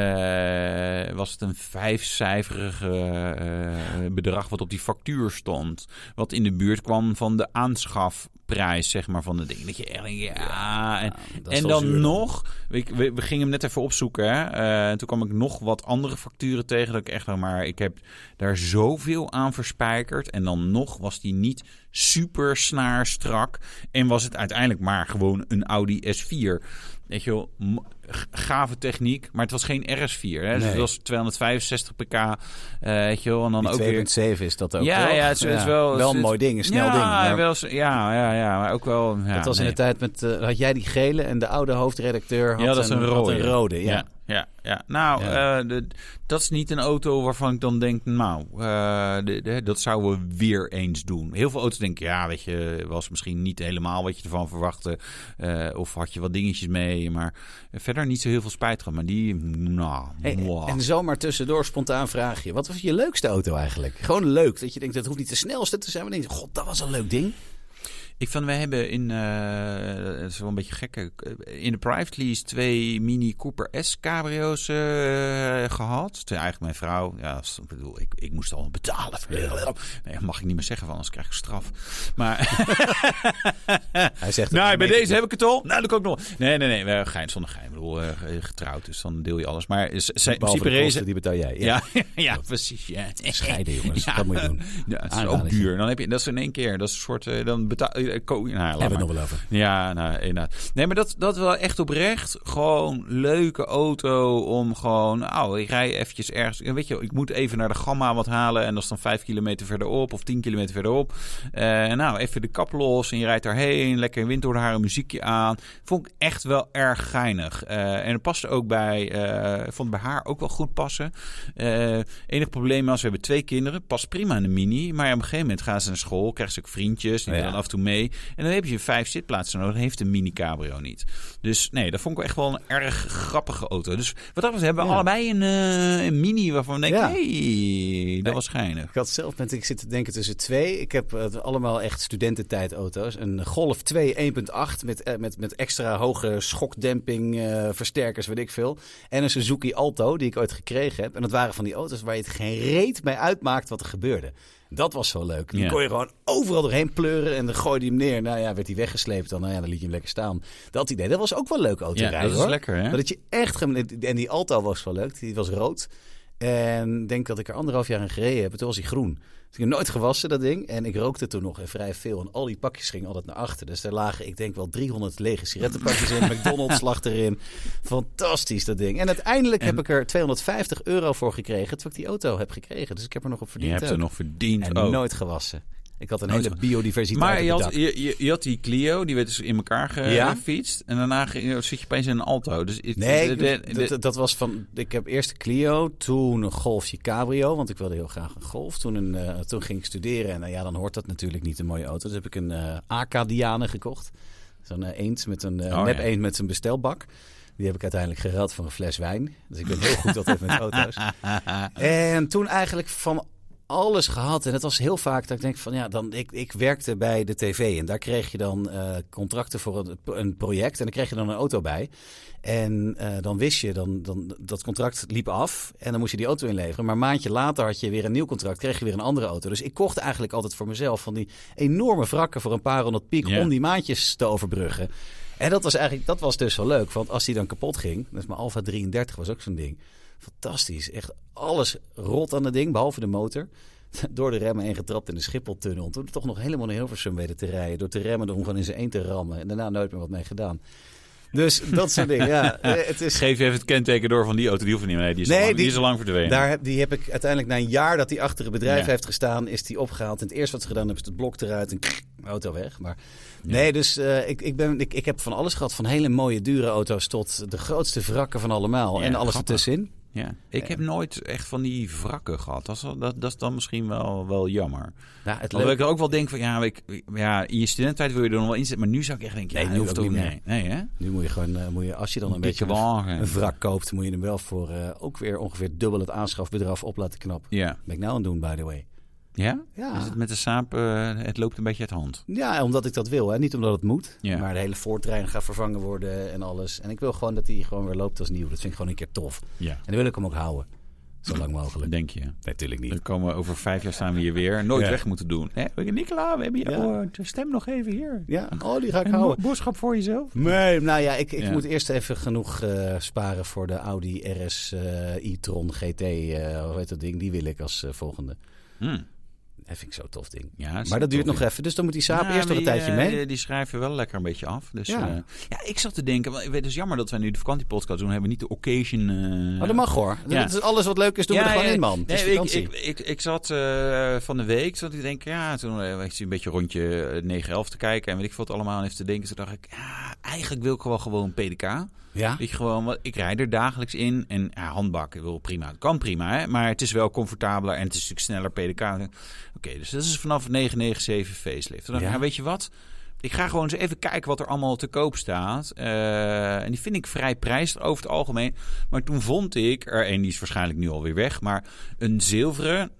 Speaker 1: eh, was het een vijfcijferige eh, bedrag wat op die factuur stond. Wat in de buurt kwam van de aanschafprijs, zeg maar, van de ding. Dat je echt denkt, ja... En,
Speaker 2: dat is
Speaker 1: en
Speaker 2: wel
Speaker 1: dan
Speaker 2: zuur.
Speaker 1: nog, ik, we, we gingen hem net even opzoeken. Hè? Eh, en toen kwam ik nog wat andere facturen tegen. Dat ik echt dacht, maar ik heb daar zoveel aan verspijkerd. En dan nog was die niet super snaarstrak. En was het uiteindelijk maar gewoon een Audi S4. Weet je wel, m- g- gave techniek, maar het was geen RS4. Hè? Dus
Speaker 2: Nee.
Speaker 1: het was 265 pk, eh, weet je wel. En dan
Speaker 2: Die
Speaker 1: ook weer
Speaker 2: 2.7 is dat ook
Speaker 1: Ja,
Speaker 2: wel.
Speaker 1: ja, het is- het is wel-
Speaker 2: wel
Speaker 1: het
Speaker 2: een
Speaker 1: is-
Speaker 2: mooi ding, een snel
Speaker 1: ja,
Speaker 2: ding. maar
Speaker 1: wel eens- ja, ja, ja, maar ook wel... Ja,
Speaker 2: dat was
Speaker 1: nee.
Speaker 2: in de tijd met... eh, had jij die gele en de oude hoofdredacteur had
Speaker 1: Ja, dat is een
Speaker 2: had
Speaker 1: rode.
Speaker 2: rode, ja.
Speaker 1: Ja, ja, ja. nou,
Speaker 2: Ja.
Speaker 1: eh, de- dat is niet een auto waarvan ik dan denk, nou, eh, de- de- dat zouden we weer eens doen. Heel veel auto's denken, ja, weet je, was misschien niet helemaal wat je ervan verwachtte. eh, of had je wat dingetjes mee, maar verder niet zo heel veel spijt gehad. Maar die, nou,
Speaker 2: Hey,
Speaker 1: mwah.
Speaker 2: En zomaar tussendoor spontaan vraag je. Wat was je leukste auto eigenlijk? Gewoon leuk. Dat je denkt, dat hoeft niet de snelste te zijn. Maar denk je, god, dat was een leuk ding.
Speaker 1: Ik van, we hebben in, eh, het is wel een beetje gekke, in de private lease twee Mini Cooper S cabrio's eh, gehad. Toen eigenlijk mijn vrouw, ja, als- ik bedoel, ik, ik moest al betalen. Nee, dat mag ik niet meer zeggen, want anders krijg ik straf. Maar,
Speaker 2: Hij zegt...
Speaker 1: nou, bij deze heb ik het al. Nou, dat ook nog. Nee, nee, nee, we- gein zonder gein. Ik bedoel, eh, getrouwd, dus dan deel je alles. Maar is- zijn in
Speaker 2: Behalve
Speaker 1: principe
Speaker 2: de kosten,
Speaker 1: reizen...
Speaker 2: die betaal jij.
Speaker 1: Ja, ja, precies. Ja.
Speaker 2: Scheiden, jongens.
Speaker 1: Ja.
Speaker 2: Dat moet je doen.
Speaker 1: Ja, het is ook
Speaker 2: Aanradertje.
Speaker 1: duur. Dan heb je, dat is in één keer. Dat is een soort. eh, dan betaal. eh, ko- nou, laat
Speaker 2: Hebben we
Speaker 1: maar.
Speaker 2: het nog wel over.
Speaker 1: Ja, nou, inderdaad. Nee, maar dat, dat wel echt oprecht. Gewoon leuke auto om gewoon... Oh, ik rij eventjes ergens... Weet je, wel, ik moet even naar de Gamma wat halen. En dat is dan vijf kilometer verderop of tien kilometer verderop. Eh, nou, even de kap los en je rijdt daarheen. Lekker wind door de haren, muziekje aan. Vond ik echt wel erg geinig. Eh, en het paste ook bij... eh, ik vond het bij haar ook wel goed passen. Eh enig probleem was, we hebben twee kinderen. Past prima in de mini. Maar ja, op een gegeven moment gaan ze naar school. Krijgen ze ook vriendjes. Die
Speaker 2: Ja.
Speaker 1: dan af en toe mee. En dan heb je vijf zitplaatsen nodig. Dat heeft een mini cabrio niet. Dus nee, dat vond ik wel echt wel een erg grappige auto. Dus wat dat betreft hebben we
Speaker 2: Ja.
Speaker 1: allebei een, eh, een mini waarvan we denken...
Speaker 2: Ja.
Speaker 1: hey, dat was geinig.
Speaker 2: Ik had zelf met, ik zit te denken tussen twee. Ik heb eh, allemaal echt studententijd auto's. Een Golf 2 1.8 met, eh, met, met extra hoge schokdemping, eh, versterkers, weet ik veel. En een Suzuki Alto die ik ooit gekregen heb. En dat waren van die auto's waar je het geen reet mee uitmaakt wat er gebeurde. Dat was zo leuk. Die
Speaker 1: Ja.
Speaker 2: kon je gewoon overal doorheen pleuren en dan gooide je hem neer. Nou ja, werd hij weggesleept dan. Nou ja, dan liet je hem lekker staan. Dat idee, dat was ook wel leuk auto
Speaker 1: Ja,
Speaker 2: rijden,
Speaker 1: dat is
Speaker 2: hoor.
Speaker 1: lekker, hè?
Speaker 2: Maar dat je echt... gem- En die Alto was wel leuk. Die was rood. En ik denk dat ik er anderhalf jaar aan gereden heb. En toen was hij groen. Dus ik heb nooit gewassen, dat ding. En ik rookte toen nog en vrij veel. En al die pakjes gingen altijd naar achter. Dus daar lagen, ik denk wel 300 lege sigarettenpakjes in. McDonald's lag erin. Fantastisch, dat ding. En uiteindelijk heb ik er 250 euro voor gekregen. Toen ik die auto heb gekregen. Dus ik heb er nog op
Speaker 1: Je
Speaker 2: verdiend.
Speaker 1: hebt
Speaker 2: ook.
Speaker 1: er nog verdiend
Speaker 2: En
Speaker 1: ook.
Speaker 2: nooit gewassen. Ik had een
Speaker 1: Nooit
Speaker 2: hele biodiversiteit
Speaker 1: Maar
Speaker 2: op
Speaker 1: je had,
Speaker 2: het dak.
Speaker 1: je, je, je had die Clio, die werd dus in elkaar
Speaker 2: Ja.
Speaker 1: gefietst. En daarna ging- zit je opeens in een Alto. Dus het-
Speaker 2: Nee,
Speaker 1: de- de- de-
Speaker 2: dat, dat was van. Ik heb eerst een Clio, toen een Golfje Cabrio, want ik wilde heel graag een Golf. Toen, een, eh, toen ging ik studeren en nou ja, dan hoort dat natuurlijk niet een mooie auto. Dus heb ik een eh Acadiane gekocht. Zo'n eh, eend met een eh
Speaker 1: Oh,
Speaker 2: nep
Speaker 1: ja.
Speaker 2: eend met zijn bestelbak. Die heb ik uiteindelijk geruild voor een fles wijn. Dus ik ben heel goed altijd met auto's. En toen eigenlijk van alles gehad. En het was heel vaak dat ik denk van ja, dan, ik, ik werkte bij de tv. En daar kreeg je dan eh, contracten voor een, een project. En dan kreeg je dan een auto bij. En eh, dan wist je, dan, dan, dat contract liep af. En dan moest je die auto inleveren. Maar een maandje later had je weer een nieuw contract. Kreeg je weer een andere auto. Dus ik kocht eigenlijk altijd voor mezelf van die enorme wrakken voor een paar honderd piek.
Speaker 1: Ja.
Speaker 2: Om die maandjes te overbruggen. En dat was eigenlijk, dat was dus wel leuk. Want als die dan kapot ging, dus mijn Alfa 33 was ook zo'n ding. Fantastisch. Echt alles rot aan het ding, behalve de motor. Door de remmen heen getrapt in de Schipholtunnel. Toen toch nog helemaal naar Hilversum weten te rijden. Door te remmen, door hem gewoon in zijn een te rammen. En daarna nooit meer wat mee gedaan. Dus dat soort dingen. Ja, Eh, het is,
Speaker 1: Geef even het kenteken door van die auto. Die hoeft niet meer. Nee, die is,
Speaker 2: Nee,
Speaker 1: al, lang,
Speaker 2: die-
Speaker 1: die is al lang verdwenen.
Speaker 2: daar heb, die heb ik uiteindelijk na een jaar dat die achter het bedrijf
Speaker 1: Ja.
Speaker 2: heeft gestaan, is die opgehaald. En het eerste wat ze gedaan hebben, is het blok eruit en krrr, auto weg. Maar nee, dus eh, ik, ik, ben, ik, ik heb van alles gehad. Van hele mooie, dure auto's tot de grootste wrakken van allemaal.
Speaker 1: Ja,
Speaker 2: en alles
Speaker 1: grappig.
Speaker 2: ertussenin.
Speaker 1: Ja. Ik heb nooit echt van die wrakken gehad. Dat is, wel- dat, dat is dan misschien wel, wel jammer.
Speaker 2: Nou, het
Speaker 1: Terwijl
Speaker 2: leuke
Speaker 1: ik ook wel denk van, ja, ik, ja, in je studententijd wil je er nog wel in zitten. Maar nu zou ik echt denken, ja,
Speaker 2: Nee, nu
Speaker 1: dat
Speaker 2: hoeft
Speaker 1: hoeft
Speaker 2: het
Speaker 1: ook
Speaker 2: niet
Speaker 1: Nee, nee hè?
Speaker 2: Nu moet je gewoon, eh, moet je, als je dan een beetje
Speaker 1: Dikke
Speaker 2: een,
Speaker 1: wagen.
Speaker 2: een wrak koopt, moet je hem wel voor eh, ook weer ongeveer dubbel het aanschafbedrag op laten knappen.
Speaker 1: Ja.
Speaker 2: Ben ik nou aan het doen, by the way.
Speaker 1: Ja?
Speaker 2: Ja.
Speaker 1: Is het met de saap, eh, het loopt een beetje uit de hand.
Speaker 2: Ja, omdat ik dat wil. Hè? Niet omdat het moet.
Speaker 1: Ja.
Speaker 2: Maar de hele voortrein gaat vervangen worden en alles. En ik wil gewoon dat die gewoon weer loopt als nieuw. Dat vind ik gewoon een keer tof. En
Speaker 1: Ja.
Speaker 2: dan wil ik hem ook houden. Zo lang mogelijk.
Speaker 1: Denk je.
Speaker 2: Natuurlijk niet.
Speaker 1: Dan komen we over vijf jaar staan we hier weer. Nooit
Speaker 2: Ja.
Speaker 1: weg moeten doen. Hè? Nicola, we hebben je
Speaker 2: Ja.
Speaker 1: oh, stem nog even hier.
Speaker 2: Ja, oh, die ga ik
Speaker 1: Een bo-
Speaker 2: houden.
Speaker 1: boodschap voor jezelf.
Speaker 2: Nee, nou ja, ik, ik
Speaker 1: Ja.
Speaker 2: moet eerst even genoeg eh, sparen voor de Audi RS eh, e-tron GT. eh hoe heet dat ding? Die wil ik als eh, volgende.
Speaker 1: Hm.
Speaker 2: Dat vind ik zo'n tof ding.
Speaker 1: Ja, is
Speaker 2: Hmm. Maar dat duurt
Speaker 1: toch,
Speaker 2: nog
Speaker 1: ja.
Speaker 2: even. Dus dan moet die saap
Speaker 1: Ja,
Speaker 2: eerst nog een
Speaker 1: die,
Speaker 2: tijdje
Speaker 1: eh,
Speaker 2: mee.
Speaker 1: Die, die schrijven wel lekker een beetje af. Dus,
Speaker 2: Ja.
Speaker 1: ja. ja, ik zat te denken. want ik weet, Het is jammer dat wij nu de vakantiepodcast doen. We hebben niet de occasion. eh,
Speaker 2: Maar Oh, dat mag hoor.
Speaker 1: Ja.
Speaker 2: Dat is alles wat leuk is, doen we er gewoon in, man. Het is
Speaker 1: nee, ik,
Speaker 2: vakantie.
Speaker 1: ik, ik, ik zat eh, van de week, zat ik te denken, ja, toen eh, ik zie een beetje rondje eh, 9-11 te kijken en weet ik veel wat allemaal en even te denken. Toen dacht ik, ja, eigenlijk wil ik wel gewoon PDK.
Speaker 2: ja?
Speaker 1: Weet je gewoon, want ik rijd er dagelijks in en ja, handbak, ik wil prima, het kan prima, hè, maar het is wel comfortabeler en het is natuurlijk sneller PDK. Oké, dus dat is vanaf 997 facelift. Toen dacht ik,
Speaker 2: Ja.
Speaker 1: ja, weet je wat? Ik ga gewoon eens even kijken wat er allemaal te koop staat. Eh, en die vind ik vrij prijzig over het algemeen. Maar toen vond ik er een, die is waarschijnlijk nu alweer weg, maar een zilveren.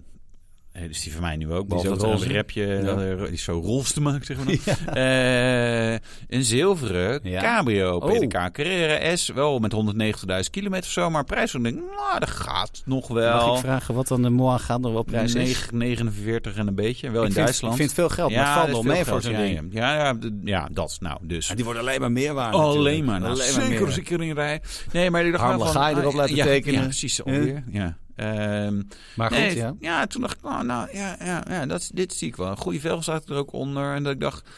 Speaker 1: eh, Dus die van mij nu ook.
Speaker 2: Die is
Speaker 1: Behalve
Speaker 2: ook
Speaker 1: dat er
Speaker 2: roze.
Speaker 1: een repje,
Speaker 2: Ja.
Speaker 1: dat er- die is zo rols te maken, zeg maar. dan. Eh, een zilveren
Speaker 2: Ja.
Speaker 1: cabrio
Speaker 2: Oh.
Speaker 1: PDK Carrera S. Wel met 190.000 kilometer of zo. Maar prijs van denk ik, nou, dat gaat nog
Speaker 2: Mag
Speaker 1: wel.
Speaker 2: ik vragen wat dan de Moa gaan er wel prijs is?
Speaker 1: 49 en een beetje. Wel
Speaker 2: Ik
Speaker 1: in
Speaker 2: vind-
Speaker 1: Duitsland.
Speaker 2: Ik vind het veel geld, maar het valt
Speaker 1: dat
Speaker 2: wel
Speaker 1: is
Speaker 2: mee
Speaker 1: veel
Speaker 2: voor
Speaker 1: geld,
Speaker 2: zo'n
Speaker 1: ja,
Speaker 2: ding.
Speaker 1: Ja, ja, d- ja, dat. Nou, dus.
Speaker 2: En die worden alleen maar meer waard.
Speaker 1: Alleen
Speaker 2: natuurlijk.
Speaker 1: maar. Nou,
Speaker 2: Alleen maar
Speaker 1: zeker
Speaker 2: meer.
Speaker 1: als ik erin rijd. Nee, maar ik dacht wel
Speaker 2: Harm
Speaker 1: van...
Speaker 2: Lagaai erop
Speaker 1: ah,
Speaker 2: laten
Speaker 1: ja,
Speaker 2: tekenen.
Speaker 1: Ja, precies. Alweer. Ja. Ehm,
Speaker 2: Maar Ah, goed,
Speaker 1: nee,
Speaker 2: ja.
Speaker 1: toen dacht ik, nou, nou ja, ja, ja dat, is- dit zie ik wel. Een goede velg staat er ook onder. En dat ik dacht,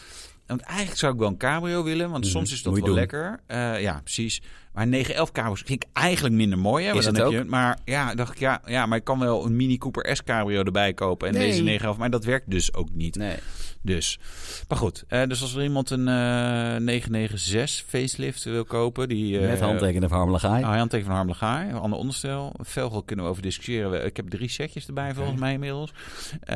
Speaker 1: want eigenlijk zou ik wel een cabrio willen. Want
Speaker 2: Mhm,
Speaker 1: soms is dat
Speaker 2: moet
Speaker 1: wel
Speaker 2: je doen.
Speaker 1: lekker. Eh, ja, precies. Maar 911 cabrio's vind ik eigenlijk minder mooi. Hè, want
Speaker 2: Is
Speaker 1: dan
Speaker 2: het
Speaker 1: heb je- maar ja, dacht ik, ja, ja, maar ik kan wel een Mini Cooper S cabrio erbij kopen. En
Speaker 2: Nee.
Speaker 1: deze 911, maar dat werkt dus ook niet.
Speaker 2: Nee.
Speaker 1: Dus, maar goed. eh, dus als er iemand een eh 996 facelift wil kopen. Die, eh,
Speaker 2: Met handtekenen van Harm Lagaai.
Speaker 1: Ah, handteken van Harm Lagaai, een ander onderstel. Velgel kunnen we over discussiëren. We- Ik heb drie setjes erbij volgens mij inmiddels. Eh,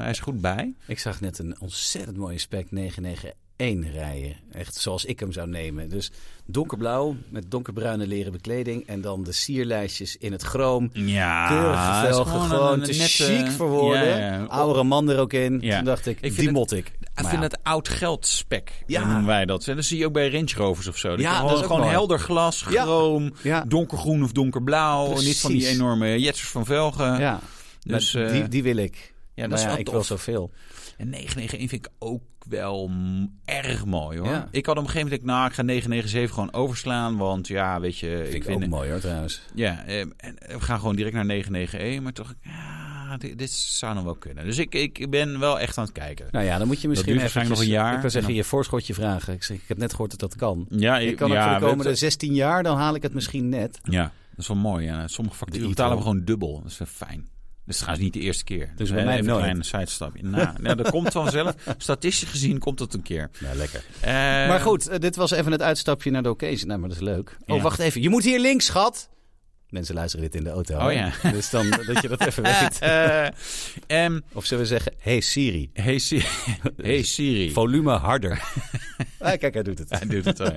Speaker 1: hij is goed bij.
Speaker 2: Ik zag net een ontzettend mooie spec 991 rijden. Echt zoals ik hem zou nemen. Dus donkerblauw met donkerbruine leren bekleding. En dan de sierlijstjes in het chroom.
Speaker 1: Ja,
Speaker 2: Keurige velgen, gewoon, te chic voor woorden. Oudere man er ook in.
Speaker 1: Ja.
Speaker 2: Toen dacht ik,
Speaker 1: Ik vind
Speaker 2: die
Speaker 1: het-
Speaker 2: mot ik.
Speaker 1: Ik
Speaker 2: Maar
Speaker 1: vind
Speaker 2: ja.
Speaker 1: het oud geld spec,
Speaker 2: Ja.
Speaker 1: noemen wij dat. En dat zie je ook bij Range Rovers of zo. Dat
Speaker 2: Ja,
Speaker 1: je
Speaker 2: dat
Speaker 1: gewoon,
Speaker 2: is ook
Speaker 1: gewoon
Speaker 2: mooi.
Speaker 1: helder glas,
Speaker 2: Ja.
Speaker 1: chroom,
Speaker 2: Ja.
Speaker 1: donkergroen of donkerblauw.
Speaker 2: Precies.
Speaker 1: Niet van die enorme jetsers van velgen.
Speaker 2: Ja,
Speaker 1: Dus,
Speaker 2: maar
Speaker 1: eh,
Speaker 2: die, die wil ik.
Speaker 1: ja, dat
Speaker 2: maar
Speaker 1: is
Speaker 2: Nou ja,
Speaker 1: wel
Speaker 2: ik
Speaker 1: tof.
Speaker 2: wil zoveel.
Speaker 1: En 991 vind ik ook wel mm, erg mooi hoor.
Speaker 2: Ja.
Speaker 1: Ik had op een gegeven moment, nou, ik ga 997 gewoon overslaan. Want ja, weet je,
Speaker 2: Vind ik
Speaker 1: ik
Speaker 2: ook
Speaker 1: vind.
Speaker 2: mooi hoor trouwens.
Speaker 1: Ja, eh, en we gaan gewoon direct naar 991. Maar toch, ja, dit, dit zou nog wel kunnen. Dus ik, ik ben wel echt aan het kijken.
Speaker 2: Nou ja, dan moet je misschien
Speaker 1: duurt waarschijnlijk
Speaker 2: eventjes-
Speaker 1: nog een jaar.
Speaker 2: Ik wil zeggen,
Speaker 1: En
Speaker 2: je voorschotje vragen. Ik, zeg, ik heb net gehoord dat dat kan.
Speaker 1: Ja,
Speaker 2: Ik kan het
Speaker 1: ja,
Speaker 2: voor de
Speaker 1: we-
Speaker 2: komende 16 jaar, dan haal ik het misschien net.
Speaker 1: Ja, dat is wel mooi. Ja. Sommige
Speaker 2: De
Speaker 1: facturen betalen we
Speaker 2: e-tron.
Speaker 1: gewoon dubbel. Dat is wel fijn. Dus trouwens niet de eerste keer.
Speaker 2: Dus bij
Speaker 1: Eh,
Speaker 2: mij
Speaker 1: even
Speaker 2: nooit.
Speaker 1: Een kleine sidestapje. Nou, nou, dat komt vanzelf. Statistisch gezien komt dat een keer.
Speaker 2: Ja, lekker.
Speaker 1: Eh,
Speaker 2: maar goed, eh, dit was even het uitstapje naar de occasion. Nou, maar dat is leuk. Oh,
Speaker 1: Ja.
Speaker 2: wacht even. Je moet hier links, schat. Mensen luisteren dit in de auto.
Speaker 1: Oh
Speaker 2: hè?
Speaker 1: ja.
Speaker 2: Dus dan eh, dat je dat even weet.
Speaker 1: eh, ehm,
Speaker 2: Of zullen we zeggen, hey Siri,
Speaker 1: hey, Siri. hey Siri.
Speaker 2: volume harder. ah, kijk, hij doet het.
Speaker 1: Hij doet het. al.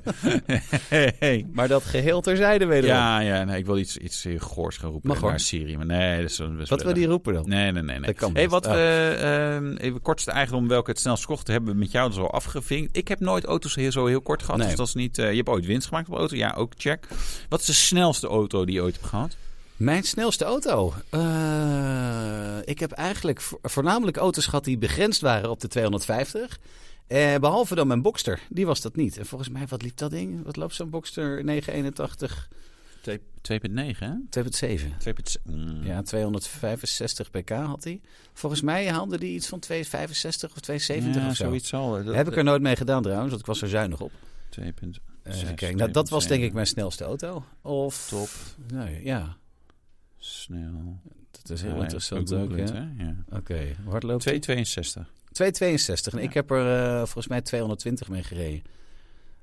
Speaker 1: hey, hey.
Speaker 2: Maar dat geheel terzijde wederom.
Speaker 1: Ja, ja nee, ik wil iets, iets eh, goors gaan roepen
Speaker 2: Mag hoor.
Speaker 1: naar Siri. Maar nee, dat is wel- best
Speaker 2: Wat wil
Speaker 1: wel-
Speaker 2: die roepen dan?
Speaker 1: Nee, nee, nee. nee.
Speaker 2: Dat kan
Speaker 1: hey,
Speaker 2: best.
Speaker 1: wat
Speaker 2: Oh.
Speaker 1: eh, ehm, even kortste eigendom welke het snelst kocht, hebben we met jou dus al afgevinkt. Ik heb nooit auto's heel, zo heel kort gehad.
Speaker 2: Nee.
Speaker 1: Dus dat is niet. eh, je hebt ooit winst gemaakt op auto. Ja, ook check. Wat is de snelste auto die je ooit hebt gehad?
Speaker 2: Mijn snelste auto? Eh, ik heb eigenlijk vo- voornamelijk auto's gehad die begrensd waren op de 250. Eh, behalve dan mijn Boxster. Die was dat niet. En volgens mij, wat liep dat ding? Wat loopt zo'n Boxster? 981,
Speaker 1: 2,9 hè?
Speaker 2: 2.7.
Speaker 1: 2,7. Mm.
Speaker 2: Ja, 265 pk had hij. Volgens mij haalde die iets van 265 of 270
Speaker 1: Ja,
Speaker 2: of zo.
Speaker 1: zoiets zal.
Speaker 2: Heb ik er nooit mee gedaan trouwens, want ik was er zuinig op.
Speaker 1: 2,7.
Speaker 2: Even kijken. Nou, dat was denk ik mijn snelste auto. Of
Speaker 1: Top.
Speaker 2: Nee, ja,
Speaker 1: Snel.
Speaker 2: dat is heel interessant ook. hè? Oké, hardloop.
Speaker 1: 2,62.
Speaker 2: 262. En
Speaker 1: Ja.
Speaker 2: ik heb er eh, volgens mij 220 mee gereden.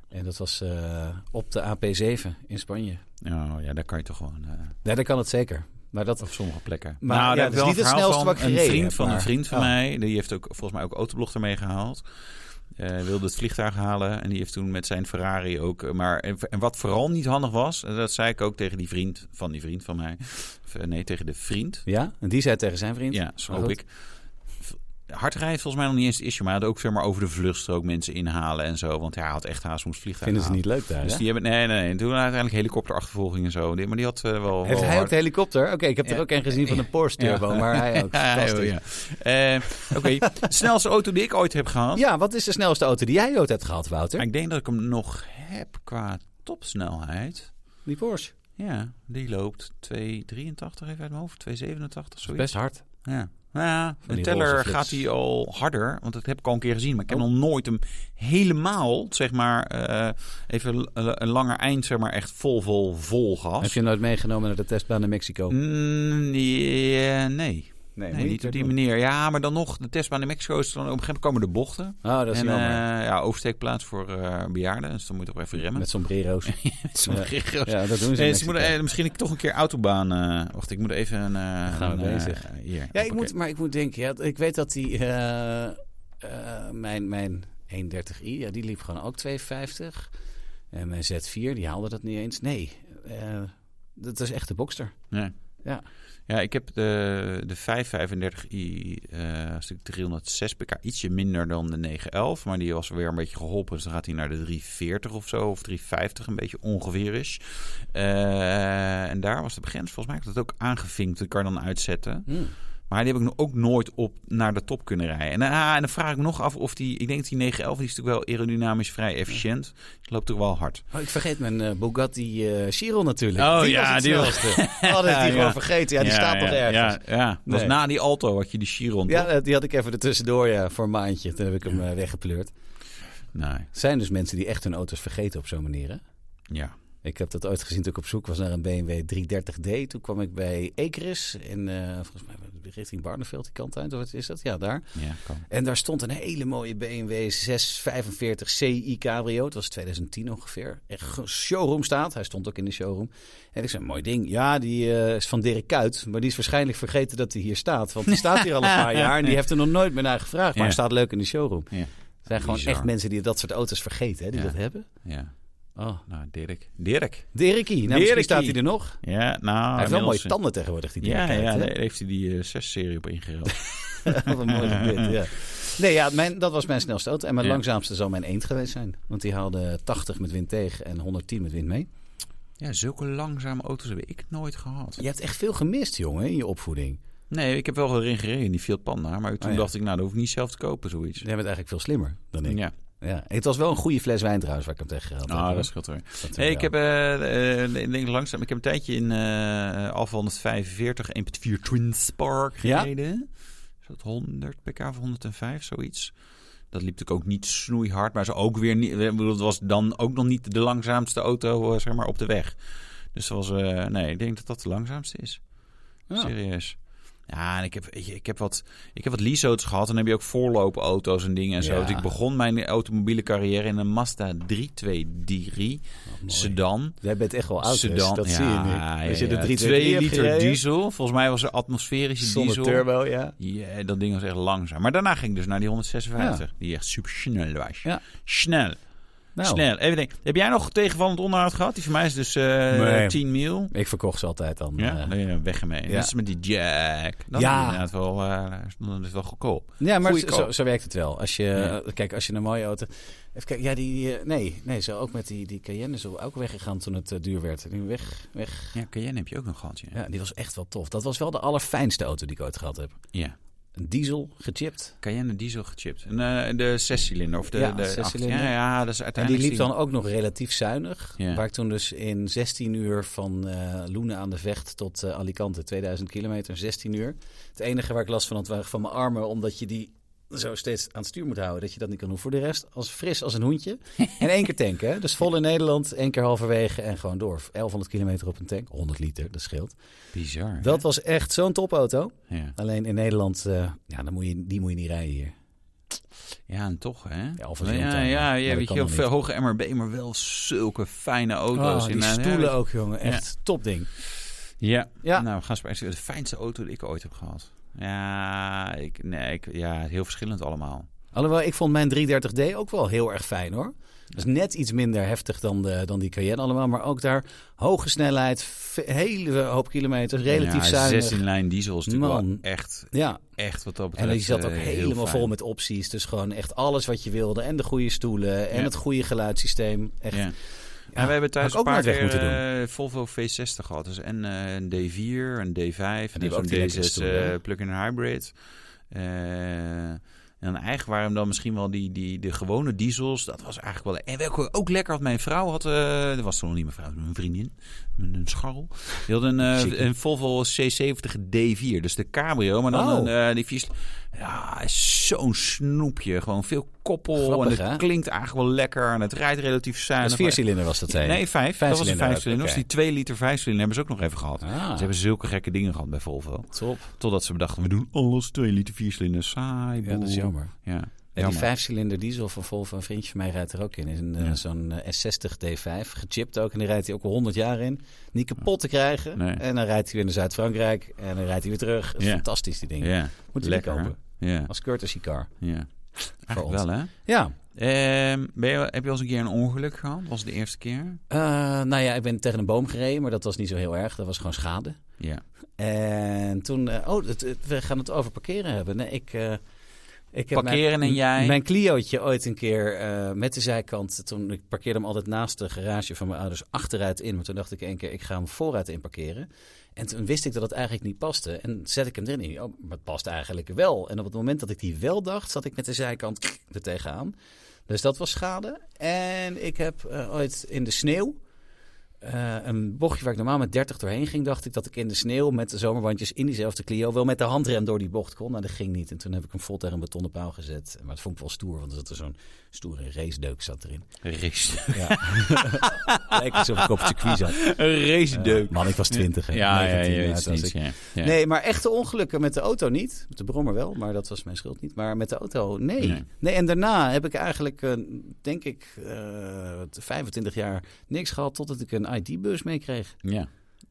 Speaker 2: En dat was eh, op de AP7 in Spanje.
Speaker 1: Nou ja, daar kan je toch gewoon eh,
Speaker 2: Nee, dat kan het zeker. Maar dat...
Speaker 1: op sommige plekken.
Speaker 2: Maar ja,
Speaker 1: nou,
Speaker 2: het
Speaker 1: heb ik
Speaker 2: is
Speaker 1: wel
Speaker 2: niet
Speaker 1: een
Speaker 2: het
Speaker 1: verhaal
Speaker 2: snelste
Speaker 1: van.
Speaker 2: wat ik gereden
Speaker 1: Een vriend
Speaker 2: heb,
Speaker 1: van een
Speaker 2: maar-
Speaker 1: vriend van
Speaker 2: Oh.
Speaker 1: mij, die heeft ook volgens mij ook autoblog ermee gehaald. Eh wilde het vliegtuig halen en die heeft toen met zijn Ferrari ook. eh, Maar en, en wat vooral niet handig was, en dat zei ik ook tegen die vriend van die vriend van mij. Of, eh, Nee, tegen de vriend.
Speaker 2: Ja? En die zei tegen zijn vriend.
Speaker 1: Ja, zo
Speaker 2: Maar
Speaker 1: hoop
Speaker 2: goed.
Speaker 1: ik. V- Hard rijden is volgens mij nog niet eens het issue. Maar hij had ook zeg maar, over de vluchtstrook mensen inhalen en zo. Want ja, hij had echt haast om het vliegtuig
Speaker 2: Vinden ze
Speaker 1: te
Speaker 2: niet leuk daar,
Speaker 1: halen. Dus
Speaker 2: hè?
Speaker 1: die hebben... Nee, nee, nee. En toen uiteindelijk helikopterachtervolging en zo. Dit- Maar die had eh, wel...
Speaker 2: Heeft
Speaker 1: wel
Speaker 2: hij ook
Speaker 1: hard-
Speaker 2: de helikopter? Oké, ik heb er
Speaker 1: Ja.
Speaker 2: ook een gezien van een Porsche Turbo, maar hij ook.
Speaker 1: Ja,
Speaker 2: Fantastisch.
Speaker 1: ja. Eh, Oké, snelste auto die ik ooit heb gehad.
Speaker 2: Ja, wat is de snelste auto die jij ooit hebt gehad, Wouter?
Speaker 1: Ik denk dat ik hem nog heb qua topsnelheid.
Speaker 2: Die Porsche.
Speaker 1: Ja, die loopt 2,83 even uit mijn hoofd. 2,87 zoiets.
Speaker 2: hard.
Speaker 1: Ja. Nou ja,
Speaker 2: Van
Speaker 1: de
Speaker 2: die
Speaker 1: teller
Speaker 2: roze flits. Oh.
Speaker 1: gaat hij al harder, want dat heb ik al een keer gezien. Maar ik heb nog nooit hem helemaal, zeg maar, eh, even l- een langer eind, zeg maar, echt vol, vol, vol gas.
Speaker 2: Heb je nooit meegenomen naar de testbaan in Mexico?
Speaker 1: Mm, nee, nee, nee, niet op die manier. Ja, maar dan nog, de testbaan in Mexico is dan op een gegeven moment komen de bochten.
Speaker 2: Oh, dat is
Speaker 1: en
Speaker 2: jammer.
Speaker 1: eh, ja, oversteekplaats voor eh, bejaarden, dus dan moet je toch even remmen.
Speaker 2: Met sombrero's.
Speaker 1: Met zo'n
Speaker 2: Ja.
Speaker 1: gigos.
Speaker 2: ja, dat doen ze. in
Speaker 1: Eh, ze
Speaker 2: Mexico.
Speaker 1: moeten, eh, misschien ik toch een keer autobaan. eh, wacht, ik moet even een. eh,
Speaker 2: gaan we
Speaker 1: een, eh,
Speaker 2: bezig.
Speaker 1: hier,
Speaker 2: Ja, ik
Speaker 1: hoppakee.
Speaker 2: moet, maar ik moet denken, ja, ik weet dat die, eh, eh, mijn, mijn 130i, ja, die liep gewoon ook 250. En mijn Z4, die haalde dat niet eens. Nee, eh, dat is echt de bokster.
Speaker 1: Ja.
Speaker 2: Ja.
Speaker 1: ja, ik heb de, de 535i eh stuk 306 pk. Ietsje minder dan de 911. Maar die was weer een beetje geholpen. Dus dan gaat hij naar de 340 of zo. Of 350 een beetje ongeveer is. Eh, en daar was de grens volgens mij had ik dat ook aangevinkt. Dat kan je dan uitzetten. Maar die heb ik nog- ook nooit op naar de top kunnen rijden. En, ah, en dan vraag ik me nog af of die... Ik denk dat die 911 die is natuurlijk wel aerodynamisch vrij efficiënt. Die loopt toch wel hard.
Speaker 2: Oh, ik vergeet mijn eh, Bugatti eh, Chiron natuurlijk.
Speaker 1: Oh,
Speaker 2: die
Speaker 1: ja,
Speaker 2: was het
Speaker 1: die
Speaker 2: snelste. Had ik die
Speaker 1: Ja, ja.
Speaker 2: gewoon vergeten. Ja, die staat nog
Speaker 1: ja,
Speaker 2: ergens.
Speaker 1: Ja, ja. dat was
Speaker 2: Nee.
Speaker 1: na die Alto had je die Chiron.
Speaker 2: Ja,
Speaker 1: toch?
Speaker 2: eh, die had ik even ertussendoor ja, voor een maandje. Toen heb ik hem eh, weggepleurd.
Speaker 1: Nee,
Speaker 2: Er zijn dus mensen die echt hun auto's vergeten op zo'n manier, hè?
Speaker 1: ja.
Speaker 2: Ik heb dat ooit gezien toen ik op zoek was naar een BMW 330d. Toen kwam ik bij Ekeris in, eh, volgens mij richting Barneveld, die kant uit. Of wat is dat? Ja, daar.
Speaker 1: Ja, kan.
Speaker 2: En daar stond een hele mooie BMW 645 CI Cabrio. Het was 2010 ongeveer. Echt ge- showroom staat. Hij stond ook in de showroom. En ik zei, mooi ding. Ja, die eh, is van Dirk Kuyt. Maar die is waarschijnlijk vergeten dat hij hier staat. Want die staat hier al een paar jaar en die heeft er nog nooit meer naar gevraagd. Maar
Speaker 1: Ja.
Speaker 2: hij staat leuk in de showroom.
Speaker 1: Ja.
Speaker 2: Er zijn gewoon
Speaker 1: Bizar.
Speaker 2: echt mensen die dat soort auto's vergeten, hè, die
Speaker 1: Ja.
Speaker 2: dat hebben.
Speaker 1: Ja,
Speaker 2: Oh.
Speaker 1: nou, Dirk. Dirk.
Speaker 2: Dirkie, nou, misschien
Speaker 1: Dirkie.
Speaker 2: staat hij er nog.
Speaker 1: Ja, nou...
Speaker 2: Hij heeft wel mooie
Speaker 1: inmiddels-
Speaker 2: tanden tegenwoordig, die
Speaker 1: Ja,
Speaker 2: Dirk
Speaker 1: ja,
Speaker 2: Kuyt, hè?
Speaker 1: daar heeft hij die 6-serie op ingereld.
Speaker 2: Wat een mooi gebit, ja. Nee, ja, mijn, dat was mijn snelste auto. En mijn
Speaker 1: Ja.
Speaker 2: langzaamste zou mijn eend geweest zijn. Want die haalde 80 met wind tegen en 110 met wind mee.
Speaker 1: ja, zulke langzame auto's heb ik nooit gehad.
Speaker 2: Je hebt echt veel gemist, jongen, in je opvoeding.
Speaker 1: Nee, ik heb wel erin gereden, in die Fiat Panda. Maar toen
Speaker 2: Oh, ja.
Speaker 1: dacht ik, nou, dat hoef ik niet zelf te kopen, zoiets.
Speaker 2: Jij bent eigenlijk veel slimmer dan ik. Ja.
Speaker 1: Ja,
Speaker 2: Het was wel een goede fles wijn trouwens waar ik hem tegen gehad heb.
Speaker 1: nou,
Speaker 2: hoor.
Speaker 1: dat scheelt weer.
Speaker 2: Dat
Speaker 1: Hey, ik
Speaker 2: wel.
Speaker 1: heb eh, eh, ik denk langzaam. Ik heb een tijdje in eh Alfa 145 1.4 Twin Spark
Speaker 2: Ja?
Speaker 1: gereden. Is dat 100 pk of 105 zoiets? Dat liep natuurlijk ook niet snoeihard, maar ze ook weer niet. ik bedoel, Het was dan ook nog niet de langzaamste auto eh, zeg maar op de weg. Dus dat was eh, nee, ik denk dat dat de langzaamste is.
Speaker 2: Ja.
Speaker 1: Serieus. Ja, en ik heb, weet je, ik heb wat, ik heb wat leaseauto's gehad. En dan heb je ook voorloopauto's en dingen en zo.
Speaker 2: Ja.
Speaker 1: Dus ik begon mijn automobiele carrière in een Mazda 323
Speaker 2: Oh, mooi.
Speaker 1: sedan.
Speaker 2: Jij bent echt wel oud, dus,
Speaker 1: Sedan,
Speaker 2: dat
Speaker 1: ja,
Speaker 2: zie je nu. Als je
Speaker 1: ja,
Speaker 2: de 3
Speaker 1: twee liter diesel. Volgens mij was er atmosferische
Speaker 2: Zonder
Speaker 1: diesel.
Speaker 2: turbo, ja.
Speaker 1: Ja, dat ding was echt langzaam. Maar daarna ging ik dus naar die 156, die echt super snel was.
Speaker 2: Ja.
Speaker 1: Snel,
Speaker 2: Nou,
Speaker 1: snel. Even denken. Heb jij nog tegenvallend onderhoud gehad? Die voor mij is dus eh
Speaker 2: Nee.
Speaker 1: 10 mil.
Speaker 2: Ik verkocht ze altijd dan.
Speaker 1: Ja,
Speaker 2: eh,
Speaker 1: nee, nee, weg ermee.
Speaker 2: ja.
Speaker 1: Dat is met die jack. Dat
Speaker 2: Ja.
Speaker 1: is inderdaad wel, eh, dat is wel goedkoop.
Speaker 2: Ja, maar
Speaker 1: Goeie
Speaker 2: zo- zo,
Speaker 1: koop.
Speaker 2: zo werkt het wel. Als je,
Speaker 1: Ja.
Speaker 2: eh, Kijk, als je een mooie auto... Even kijken, ja, die... eh, nee, nee, zo ook met die, die Cayenne is ook weggegaan toen het eh, duur werd. Die weg, weg.
Speaker 1: Ja, Cayenne heb je ook nog gehad, ja.
Speaker 2: Ja, die was echt wel tof. Dat was wel de allerfijnste auto die ik ooit gehad heb.
Speaker 1: Ja.
Speaker 2: Een diesel, gechipt.
Speaker 1: Cayenne diesel gechipt. En eh, de zescilinder of de,
Speaker 2: Ja,
Speaker 1: de acht.
Speaker 2: zescilinder.
Speaker 1: Ja, ja, dat is
Speaker 2: En die
Speaker 1: uiteindelijk...
Speaker 2: liep dan ook nog relatief zuinig.
Speaker 1: Ja.
Speaker 2: Waar ik toen dus in 16 uur van eh, Loenen aan de Vecht tot eh, Alicante, 2000 kilometer, 16 uur. Het enige waar ik last van had waren van mijn armen, omdat je die zo steeds aan het stuur moet houden, dat je dat niet kan doen. Voor de rest, als fris als een hoentje. En één keer tanken. hè. Dus vol in Nederland, één keer halverwege en gewoon door. 1100 kilometer op een tank. 100 liter, dat scheelt.
Speaker 1: Bizar.
Speaker 2: Dat was echt zo'n topauto.
Speaker 1: Ja.
Speaker 2: Alleen in Nederland, eh, ja, dan moet je, die moet je niet rijden hier.
Speaker 1: ja, en toch, hè?
Speaker 2: Ja, of een
Speaker 1: ja, ja,
Speaker 2: Zontuin,
Speaker 1: ja,
Speaker 2: maar dat
Speaker 1: weet
Speaker 2: kan
Speaker 1: je,
Speaker 2: dan
Speaker 1: op
Speaker 2: niet.
Speaker 1: hoge MRB, maar wel zulke fijne auto's.
Speaker 2: Oh, die
Speaker 1: inderdaad.
Speaker 2: stoelen
Speaker 1: eh, ja,
Speaker 2: ook, jongen. Echt topding.
Speaker 1: Ja.
Speaker 2: Ja.
Speaker 1: Nou, we gaan spreken. De fijnste auto die ik ooit heb gehad. Ja, ik, nee, ik, ja, heel verschillend allemaal.
Speaker 2: Alhoewel, ik vond mijn 330D ook wel heel erg fijn hoor. Dat is net iets minder heftig dan, de, dan die Cayenne allemaal. Maar ook daar hoge snelheid, ve- hele hoop kilometers, relatief
Speaker 1: ja,
Speaker 2: zuinig.
Speaker 1: 16-lijn diesel is natuurlijk
Speaker 2: Man.
Speaker 1: wel echt,
Speaker 2: Ja,
Speaker 1: echt wat dat
Speaker 2: en
Speaker 1: betreft
Speaker 2: die zat ook
Speaker 1: eh, heel
Speaker 2: helemaal
Speaker 1: fijn.
Speaker 2: vol met opties. Dus gewoon echt alles wat je wilde. En de goede stoelen en
Speaker 1: Ja.
Speaker 2: het goede geluidssysteem. Echt.
Speaker 1: Ja. en we hebben thuis
Speaker 2: had
Speaker 1: een
Speaker 2: ik ook
Speaker 1: paar
Speaker 2: nooit weg
Speaker 1: keer
Speaker 2: moeten doen.
Speaker 1: eh, Volvo V60 gehad. Dus en eh, een D4, een D5, en
Speaker 2: hebben ook
Speaker 1: zo'n
Speaker 2: die lekkere
Speaker 1: D6
Speaker 2: stoelen,
Speaker 1: eh,
Speaker 2: hè?
Speaker 1: plug-in hybrid. Eh, en eigenlijk waren hem dan misschien wel die, die, de gewone diesels. Dat was eigenlijk wel... En welke ook lekker had mijn vrouw had... eh, dat was toen nog niet mijn vrouw, mijn vriendin. Met een scharrel. Die had een, eh,
Speaker 2: Chique.
Speaker 1: een Volvo C70 D4. Dus de cabrio. Maar dan
Speaker 2: Oh.
Speaker 1: een, eh, die vies... Ja, is zo'n snoepje. Gewoon veel koppel.
Speaker 2: Grappig,
Speaker 1: en het
Speaker 2: hè?
Speaker 1: klinkt eigenlijk wel lekker. En het rijdt relatief
Speaker 2: Dat
Speaker 1: zuinig.
Speaker 2: is viercilinder was dat, zei je?
Speaker 1: Nee, vijf.
Speaker 2: Vijf
Speaker 1: dat was een
Speaker 2: cilinder,
Speaker 1: vijfcilinder.
Speaker 2: oké.
Speaker 1: Dus die 2 liter vijfcilinder hebben ze ook nog even gehad.
Speaker 2: Ah,
Speaker 1: Ze hebben zulke gekke dingen gehad bij Volvo.
Speaker 2: top.
Speaker 1: Totdat ze bedachten, we doen alles 2 liter viercilinder. Saai,
Speaker 2: Ja, dat is
Speaker 1: boel.
Speaker 2: jammer.
Speaker 1: Ja,
Speaker 2: Ja, die
Speaker 1: jammer.
Speaker 2: vijfcilinder diesel van Volvo, een vriendje van mij rijdt er ook in. Is een, eh,
Speaker 1: Ja.
Speaker 2: Zo'n eh, S60 D5, gechipt ook. En die rijdt hij ook al 100 jaar in. Niet kapot te krijgen.
Speaker 1: Ah, Nee.
Speaker 2: En dan rijdt hij weer naar Zuid-Frankrijk. En dan rijdt hij weer terug. Dat is
Speaker 1: Ja.
Speaker 2: Fantastisch, die dingen.
Speaker 1: Ja,
Speaker 2: Moet je
Speaker 1: lekker.
Speaker 2: die
Speaker 1: hè?
Speaker 2: kopen.
Speaker 1: Ja,
Speaker 2: Als courtesy car.
Speaker 1: ja.
Speaker 2: ons.
Speaker 1: Eigenlijk wel, hè?
Speaker 2: Ja.
Speaker 1: Ehm, ben je, heb je wel eens een keer een ongeluk gehad? Was het de eerste keer?
Speaker 2: Eh, nou ja, ik ben tegen een boom gereden. Maar dat was niet zo heel erg. Dat was gewoon schade.
Speaker 1: Ja.
Speaker 2: En toen... eh, oh, het- het- we gaan het over parkeren hebben. Nee, ik... eh, ik heb
Speaker 1: Parkeren
Speaker 2: mijn,
Speaker 1: en jij?
Speaker 2: Mijn Clio'tje ooit een keer eh, met de zijkant. Toen ik parkeerde hem altijd naast de garage van mijn ouders achteruit in. Maar toen dacht ik één keer, ik ga hem vooruit in parkeren. En toen wist ik dat het eigenlijk niet paste. En zet ik hem erin. Oh, maar het past eigenlijk wel. En op het moment dat ik die wel dacht, zat ik met de zijkant er tegenaan. Dus dat was schade. En ik heb eh, ooit in de sneeuw. eh, een bochtje waar ik normaal met 30 doorheen ging, dacht ik dat ik in de sneeuw met de zomerwandjes in diezelfde Clio wel met de handrem door die bocht kon. Nou, dat ging niet. En toen heb ik hem vol tegen een betonnen paal gezet. Maar dat vond ik wel stoer, want er zat er zo'n stoere racedeuk zat erin.
Speaker 1: Race,
Speaker 2: Ja. Lijkt alsof ik op het circuit zat.
Speaker 1: een race
Speaker 2: Eh, man, ik was 20. hè.
Speaker 1: ja, ja,
Speaker 2: 19
Speaker 1: je weet
Speaker 2: jaar
Speaker 1: het
Speaker 2: was
Speaker 1: niet.
Speaker 2: ik.
Speaker 1: Ja. Ja.
Speaker 2: Nee, maar echte ongelukken met de auto niet. Met de brommer wel, maar dat was mijn schuld niet. Maar met de auto, nee.
Speaker 1: Nee.
Speaker 2: Nee, en daarna heb ik eigenlijk, eh, denk ik, eh, 25 jaar niks gehad... totdat ik een ID-beurs meekreeg.
Speaker 1: Ja.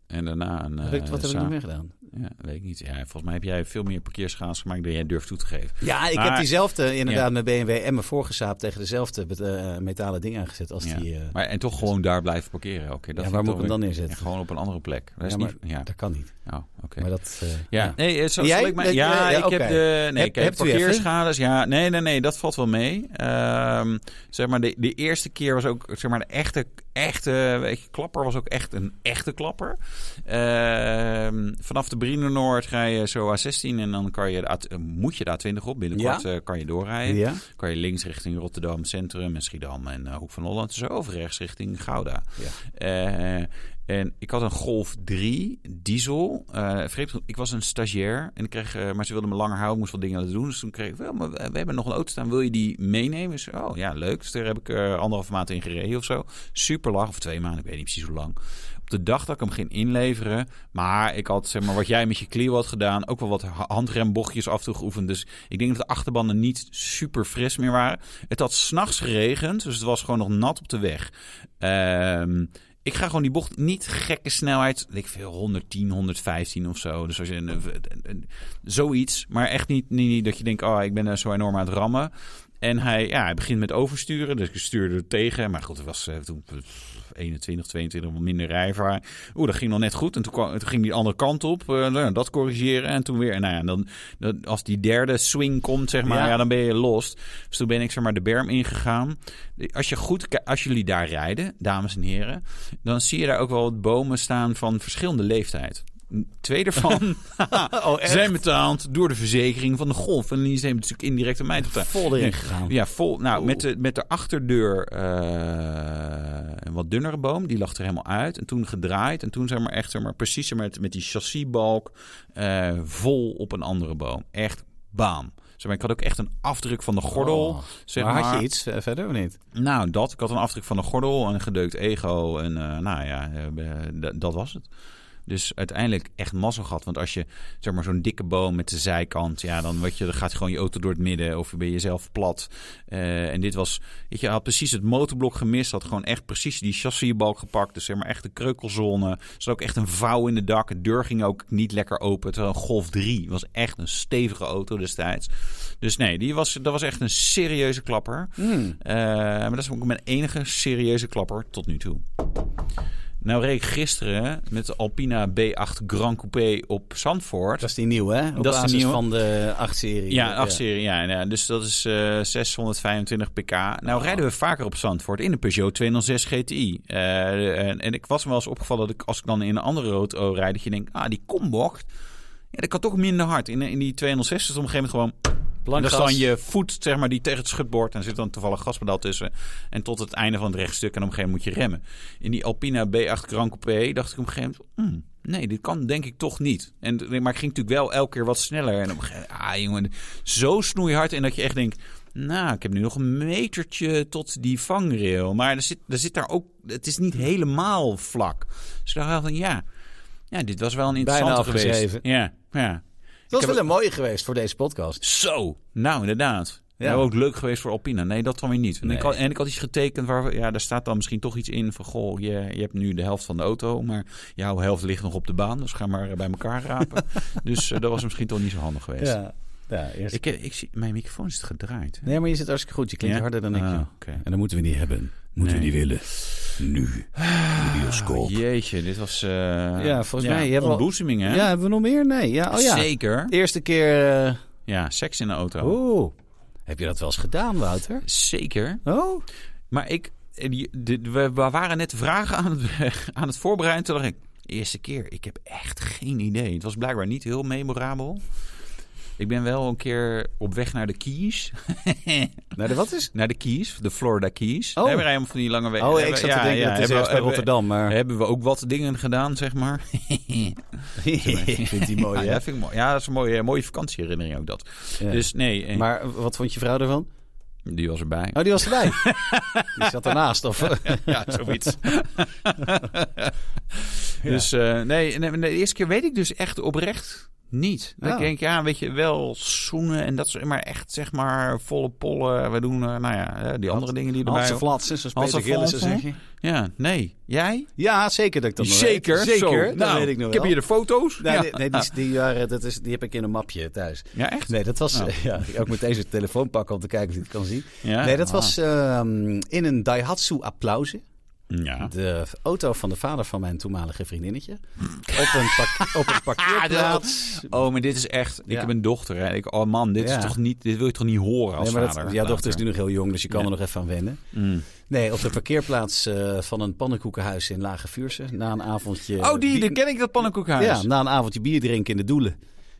Speaker 1: En daarna een...
Speaker 2: Heb ik-
Speaker 1: eh,
Speaker 2: Wat heb ik
Speaker 1: zaak.
Speaker 2: nog meer gedaan?
Speaker 1: Ja, weet ik niet. Ja, volgens mij heb jij veel meer parkeerschaas gemaakt dan jij durft toe te geven.
Speaker 2: Ja, ik
Speaker 1: Maar-
Speaker 2: heb diezelfde inderdaad met BMW en mijn voorgezaap... tegen dezelfde eh, metalen ding aangezet als
Speaker 1: Ja.
Speaker 2: die... eh,
Speaker 1: Maar en toch gewoon daar blijven parkeren elke keer. Dat
Speaker 2: ja,
Speaker 1: vind
Speaker 2: waar moet
Speaker 1: toch
Speaker 2: ik hem dan
Speaker 1: weer-
Speaker 2: neerzetten?
Speaker 1: Ja, gewoon op een andere plek. Dat is
Speaker 2: Ja,
Speaker 1: niet... Ja,
Speaker 2: Dat kan niet.
Speaker 1: oh, oké.
Speaker 2: Maar dat... eh,
Speaker 1: Ja,
Speaker 2: ja.
Speaker 1: nee, eh, zo,
Speaker 2: En jij?
Speaker 1: zal ik mij-
Speaker 2: Dat-
Speaker 1: ja,
Speaker 2: ja, ja,
Speaker 1: ik heb
Speaker 2: oké.
Speaker 1: de nee,
Speaker 2: Heb-
Speaker 1: ik heb
Speaker 2: hebt u even?
Speaker 1: parkeerschades. Ja, nee, nee, nee, dat valt wel mee. Ehm, zeg maar, de, de eerste keer was ook, zeg maar, de echte, echte weet je, klapper was ook echt een echte klapper. Ehm, vanaf de Brienenoord ga je zo A16 en dan kan je de A- eh, moet je de A20 op. Binnenkort
Speaker 2: Ja?
Speaker 1: eh, kan je doorrijden.
Speaker 2: Ja?
Speaker 1: Kan je links richting Rotterdam Centrum en Schiedam en eh, Hoek van Holland. Zo over rechts richting Gouda.
Speaker 2: Ja.
Speaker 1: Eh, en ik had een Golf 3 diesel. Eh, vreemd genoeg, ik was een stagiair. En ik kreeg, eh, maar ze wilden me langer houden. Ik moest wat dingen laten doen. Dus toen kreeg ik, wel, maar we we hebben nog een auto staan. Wil je die meenemen? Dus, oh ja, leuk. Dus daar heb ik eh, anderhalve maand in gereden of zo. Super lang. Of twee maanden, ik weet niet precies hoe lang. Op de dag dat ik hem ging inleveren. Maar ik had, zeg maar, wat jij met je Clio had gedaan. Ook wel wat ha- handrembochtjes af en toe geoefend. Dus ik denk dat de achterbanden niet super fris meer waren. Het had s'nachts geregend. Dus het was gewoon nog nat op de weg. Ehm, ik ga gewoon die bocht niet gekke snelheid. weet Ik veel 110, 115 of zo. Dus als je een, een- een- zoiets. Maar echt niet, niet, niet dat je denkt: oh, ik ben er zo enorm aan het rammen. En hij, ja, hij begint met oversturen. Dus ik stuurde er tegen. Maar goed, het was eh, toen pff, 21, 22, wat minder rijvaar. Oeh, dat ging nog net goed. En toen, kwam, toen ging die andere kant op. eh, nou, dat corrigeren. En toen weer. En nou ja, dan, dan, als die derde swing komt, zeg maar,
Speaker 2: Ja.
Speaker 1: ja, dan ben je lost. Dus toen ben ik zeg maar de berm ingegaan. Als, je goed, ki- als jullie daar rijden, dames en heren, dan zie je daar ook wel wat bomen staan van verschillende leeftijd. Twee daarvan
Speaker 2: Oh, echt?
Speaker 1: zijn betaald door de verzekering van de golf. En die zijn natuurlijk indirect aan mij te betalen.
Speaker 2: Vol
Speaker 1: Nee.
Speaker 2: erin gegaan.
Speaker 1: Ja, vol. Nou,
Speaker 2: Oeh.
Speaker 1: met de, met de achterdeur eh, een wat dunnere boom. Die lag er helemaal uit. En toen gedraaid. En toen zeg maar echt zeg maar, precies zeg maar, met, met die chassisbalk eh, vol op een andere boom. Echt bam. Zeg maar, ik had ook echt een afdruk van de gordel.
Speaker 2: Oh.
Speaker 1: zeg
Speaker 2: maar
Speaker 1: maar,
Speaker 2: had je iets eh, verder of niet?
Speaker 1: Nou, dat. Ik had een afdruk van de gordel, een gedeukt ego. En eh, nou ja, eh, d- dat was het. Dus uiteindelijk echt mazzel gehad. Want als je zeg maar, zo'n dikke boom met de zijkant... Ja, dan, wat je, dan gaat gewoon je auto door het midden of ben je zelf plat. Eh, en dit was... Weet je, hij had precies het motorblok gemist. Had gewoon echt precies die chassisbalk gepakt. Dus zeg maar echt de kreukelzone. Er zat ook echt een vouw in de dak. De deur ging ook niet lekker open. Terwijl een Golf 3 was echt een stevige auto destijds. Dus nee, die was, dat was echt een serieuze klapper. Eh, maar dat is ook mijn enige serieuze klapper tot nu toe. Nou reed ik gisteren met de Alpina B8 Grand Coupé op Zandvoort.
Speaker 2: Dat is die nieuwe, hè? Op
Speaker 1: Dat is de
Speaker 2: basis
Speaker 1: nieuwe.
Speaker 2: van de 8-serie.
Speaker 1: ja, 8 serie. Ja, ja. dus dat is eh, 625 pk. Nou rijden we vaker op Zandvoort in de Peugeot 206 GTI. Eh, en, en ik was me wel eens opgevallen dat ik, als ik dan in een andere auto rijd, dat je denkt, ah, die kombocht, ja, dat kan toch minder hard. In, in die 206 is het op een gegeven moment gewoon... En dat is dan je voet, zeg maar, die tegen het schutbord. En er zit dan toevallig gaspedaal tussen. En tot het einde van het rechtstuk. En op een gegeven moment moet je remmen. In die Alpina B8 Grand Coupé dacht ik op een gegeven moment... "Hmm, nee, dit kan denk ik toch niet. En, maar ik ging natuurlijk wel elke keer wat sneller. En op een gegeven moment... Ah, jongen, zo snoeihard. En dat je echt denkt... Nou, ik heb nu nog een metertje tot die vangrail. Maar er zit, er zit daar ook... Het is niet helemaal vlak. Dus ik dacht van, ja... Ja, dit was wel een
Speaker 2: Bijna
Speaker 1: interessante geweest.
Speaker 2: afgeschreven.
Speaker 1: Ja, ja.
Speaker 2: Dat
Speaker 1: Ik
Speaker 2: is
Speaker 1: heb
Speaker 2: wel een mooie geweest voor deze podcast.
Speaker 1: Zo, nou inderdaad.
Speaker 2: Ja.
Speaker 1: Ja. ook leuk geweest voor Alpina. Nee, dat dan weer niet. En,
Speaker 2: Nee.
Speaker 1: ik had, en ik had iets getekend waar... we- Ja, daar staat dan misschien toch iets in van... Goh, je, je hebt nu de helft van de auto... maar jouw helft ligt nog op de baan. Dus ga maar eh, bij elkaar rapen. dus eh, dat was misschien toch niet zo handig geweest.
Speaker 2: Ja, ja eerst.
Speaker 1: Ik, eh, ik zie, mijn microfoon is gedraaid.
Speaker 2: Nee, maar je zit hartstikke goed. Je klinkt
Speaker 1: Ja?
Speaker 2: harder dan ik.
Speaker 1: Ah,
Speaker 2: joh.
Speaker 1: oké.
Speaker 2: En dat moeten we niet hebben. Moeten
Speaker 1: Nee.
Speaker 2: we niet willen. Nu. In de bioscoop.
Speaker 1: Ah, Jeetje, dit was... eh,
Speaker 2: Ja, volgens mij hebben we al-
Speaker 1: Ontboezeming, hè?
Speaker 2: Ja, hebben we nog meer? Nee. Ja, oh ja.
Speaker 1: Zeker.
Speaker 2: Eerste keer... eh,
Speaker 1: Ja, seks in de auto.
Speaker 2: Oeh. Heb je dat wel eens gedaan, Wouter?
Speaker 1: Zeker.
Speaker 2: Oh?
Speaker 1: Maar ik, eh, die- de- we, we waren net vragen aan het, aan het voorbereiden. Toen dacht ik, eerste keer, ik heb echt geen idee. Het was blijkbaar niet heel memorabel. Ik ben wel een keer op weg naar de Keys.
Speaker 2: Nou, de- wat is...
Speaker 1: naar de Keys, de Florida Keys.
Speaker 2: Oh.
Speaker 1: Daar hebben we helemaal van die lange weg.
Speaker 2: Oh, ik
Speaker 1: hebben-
Speaker 2: zat
Speaker 1: Eh, ja,
Speaker 2: te denken
Speaker 1: ja,
Speaker 2: dat het is
Speaker 1: hebben we-
Speaker 2: ergens bij
Speaker 1: hebben-
Speaker 2: Rotterdam, maar...
Speaker 1: Hebben we ook wat dingen gedaan, zeg maar.
Speaker 2: Vindt die mooi,
Speaker 1: ja,
Speaker 2: hè?
Speaker 1: dat vind ik mooi. Ja, dat is een mooie, mooie vakantieherinnering ook dat.
Speaker 2: Oh, Ja.
Speaker 1: Dus nee, eh,
Speaker 2: Maar wat vond je vrouw ervan?
Speaker 1: die was erbij.
Speaker 2: Oh, die was erbij. die zat ernaast. Of... eh,
Speaker 1: Ja, zoiets. Dus eh, nee, nee, nee, de eerste keer weet ik dus echt oprecht niet. Dan
Speaker 2: Ja.
Speaker 1: denk ik, ja, weet je, wel zoenen en dat is maar echt, zeg maar, volle pollen. We doen, eh, nou ja, eh, die andere dingen die erbij
Speaker 2: Hansen Flatsen, zoals Peter
Speaker 1: Hansen
Speaker 2: Gillissen zeg
Speaker 1: Flatsen?
Speaker 2: je.
Speaker 1: Ja, nee. Jij?
Speaker 2: Ja, zeker dat ik dat nog weet.
Speaker 1: Zeker,
Speaker 2: Zeker,
Speaker 1: Zo,
Speaker 2: dat
Speaker 1: nou,
Speaker 2: weet ik nog
Speaker 1: Ik Nou, heb
Speaker 2: wel.
Speaker 1: hier de foto's.
Speaker 2: Nee,
Speaker 1: ja.
Speaker 2: nee, nee, die, die, waren, dat is, die heb ik in een mapje thuis.
Speaker 1: ja, echt?
Speaker 2: Nee, dat was... eh,
Speaker 1: Oh.
Speaker 2: Ja, ook met deze telefoon pakken om te kijken of je het kan zien.
Speaker 1: Ja?
Speaker 2: Nee, dat
Speaker 1: Ah.
Speaker 2: was ehm, in een Daihatsu Applause.
Speaker 1: Ja.
Speaker 2: De auto van de vader van mijn toenmalige vriendinnetje. Op een, pak- op een parkeerplaats.
Speaker 1: Oh, maar dit is echt... Ik
Speaker 2: Ja.
Speaker 1: heb een dochter. Hè. Ik, oh man, dit,
Speaker 2: Ja.
Speaker 1: is toch niet, dit wil je toch niet horen als
Speaker 2: Nee, maar dat,
Speaker 1: vader?
Speaker 2: ja, dochter is
Speaker 1: later?
Speaker 2: nu nog heel jong, dus je kan er nog even aan wennen.
Speaker 1: Mm.
Speaker 2: Nee, op de parkeerplaats eh, van een pannenkoekenhuis in Lage Vuurse. Na een avondje...
Speaker 1: Oh, die,
Speaker 2: bier-
Speaker 1: die ken ik, dat pannenkoekhuis.
Speaker 2: Ja, na een avondje bier drinken in de Doelen.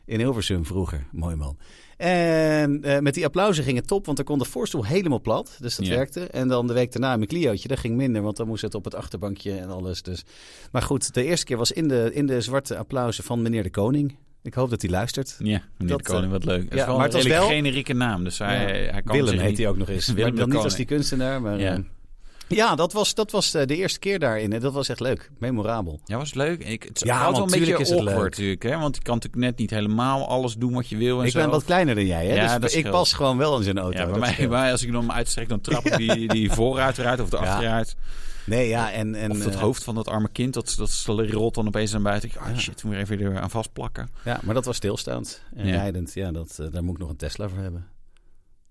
Speaker 2: In Hilversum vroeger. Mooi man. En eh, met die applausen ging het top, want dan kon de voorstoel helemaal plat. Dus dat
Speaker 1: Ja.
Speaker 2: werkte. En dan de week daarna in mijn Clio'tje, dat ging minder, want dan moest het op het achterbankje en alles. Dus. Maar goed, de eerste keer was in de, in de zwarte applausen van meneer de Koning. Ik hoop dat hij luistert.
Speaker 1: Ja, meneer
Speaker 2: Dat, eh,
Speaker 1: de Koning, wat leuk. Het
Speaker 2: ja,
Speaker 1: is wel
Speaker 2: maar
Speaker 1: een
Speaker 2: het was
Speaker 1: redelijk
Speaker 2: wel-
Speaker 1: generieke naam, dus hij,
Speaker 2: Ja.
Speaker 1: hij kan
Speaker 2: Willem
Speaker 1: zich
Speaker 2: heet
Speaker 1: niet-
Speaker 2: hij ook nog eens.
Speaker 1: Willem
Speaker 2: maar dan
Speaker 1: de
Speaker 2: niet als die
Speaker 1: Koning.
Speaker 2: kunstenaar. Maar,
Speaker 1: Ja.
Speaker 2: ja, ja dat, was, dat was eh, de eerste keer daarin. En dat was echt leuk. Memorabel.
Speaker 1: Ja, was het leuk? Ik, het
Speaker 2: Ja,
Speaker 1: ja, houdt wel
Speaker 2: want
Speaker 1: een beetje
Speaker 2: tuurlijk is het
Speaker 1: awkward
Speaker 2: leuk.
Speaker 1: natuurlijk, hè? Want je kan natuurlijk net niet helemaal alles doen wat je wil en
Speaker 2: Ik
Speaker 1: zo.
Speaker 2: ben wat kleiner dan jij, hè?
Speaker 1: Ja,
Speaker 2: dus
Speaker 1: dat
Speaker 2: ik
Speaker 1: scheelt.
Speaker 2: pas gewoon wel in zijn auto.
Speaker 1: ja, bij
Speaker 2: dat
Speaker 1: mij,
Speaker 2: scheelt.
Speaker 1: bij- als ik hem uitstrek, dan trap ik die, die vooruit eruit of de
Speaker 2: Ja.
Speaker 1: achteruit.
Speaker 2: Nee, ja, en... en
Speaker 1: Of dat
Speaker 2: eh,
Speaker 1: hoofd van dat arme kind, dat, dat rolt dan opeens naar buiten. Ik, Ah shit, moet ik er even weer aan vastplakken.
Speaker 2: Ja, maar dat was stilstaand en
Speaker 1: Ja.
Speaker 2: rijdend. Ja, dat, eh, daar moet ik nog een Tesla voor hebben.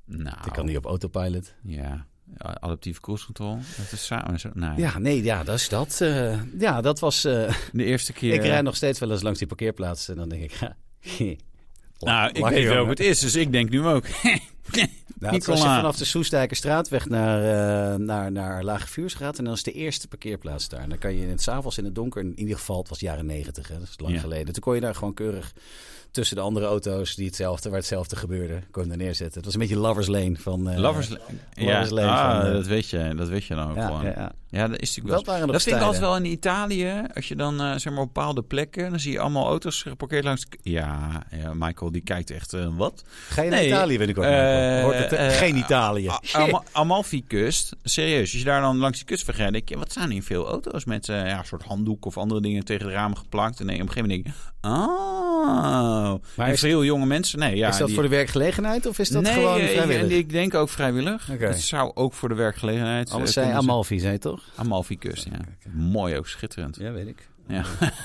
Speaker 1: Nou,
Speaker 2: Ik kan die op autopilot.
Speaker 1: ja. Adaptieve cruise control, dat is samen zo. Nou,
Speaker 2: Ja, nee, ja, dat is dat. eh, ja, dat was... eh,
Speaker 1: De eerste keer...
Speaker 2: Ik rijd nog steeds wel eens langs die parkeerplaats en dan denk ik... Ja,
Speaker 1: Nou, ik
Speaker 2: Lachen,
Speaker 1: weet wel
Speaker 2: jongen.
Speaker 1: hoe het is, dus ik denk nu ook.
Speaker 2: Nou, het was als je
Speaker 1: Nicola.
Speaker 2: vanaf de Soestijkerstraatweg naar, eh naar, naar Lage Vuurs gaat. En dan is de eerste parkeerplaats daar. En dan kan je in het s'avonds in het donker, in ieder geval, het was jaren negentig, hè, dat is lang
Speaker 1: Ja.
Speaker 2: geleden. Toen kon je daar gewoon keurig tussen de andere auto's die hetzelfde, waar hetzelfde gebeurde, kon je daar neerzetten. Het was een beetje Lovers Lane van... eh,
Speaker 1: Lovers, ja,
Speaker 2: Lovers Lane
Speaker 1: ah,
Speaker 2: van, eh,
Speaker 1: dat weet je, dat weet je dan ook
Speaker 2: ja,
Speaker 1: gewoon.
Speaker 2: ja,
Speaker 1: Ja,
Speaker 2: ja.
Speaker 1: dat is natuurlijk wel.
Speaker 2: Dat waren nog
Speaker 1: dat vind ik
Speaker 2: tijden.
Speaker 1: altijd wel in Italië. Als je dan eh, zeg maar op bepaalde plekken, dan zie je allemaal auto's geparkeerd langs. de k- Ja, ja Michael die kijkt echt eh, wat.
Speaker 2: Ga je naar
Speaker 1: Nee,
Speaker 2: Italië binnenkort?
Speaker 1: eh,
Speaker 2: Michael? Hoort het,
Speaker 1: eh,
Speaker 2: geen Italië.
Speaker 1: A- Ama- Amalfi-kust, serieus. Als je daar dan langs die kust vergeet, denk je, wat staan hier veel auto's met eh, ja, een soort handdoek of andere dingen tegen de ramen geplakt. En nee, op een gegeven moment denk ik, oh.
Speaker 2: Maar
Speaker 1: Maar
Speaker 2: is-
Speaker 1: veel jonge mensen, nee, ja.
Speaker 2: is dat
Speaker 1: die-
Speaker 2: voor de werkgelegenheid of is dat
Speaker 1: nee,
Speaker 2: gewoon
Speaker 1: eh,
Speaker 2: vrijwillig?
Speaker 1: en ik denk ook vrijwillig.
Speaker 2: Oké.
Speaker 1: Het zou ook voor de werkgelegenheid.
Speaker 2: Alles
Speaker 1: eh,
Speaker 2: zei
Speaker 1: kunnen zijn.
Speaker 2: Amalfi, zei je toch?
Speaker 1: Amalfi-kust, ja. Mooi ook, schitterend.
Speaker 2: Ja, weet ik.
Speaker 1: Ja.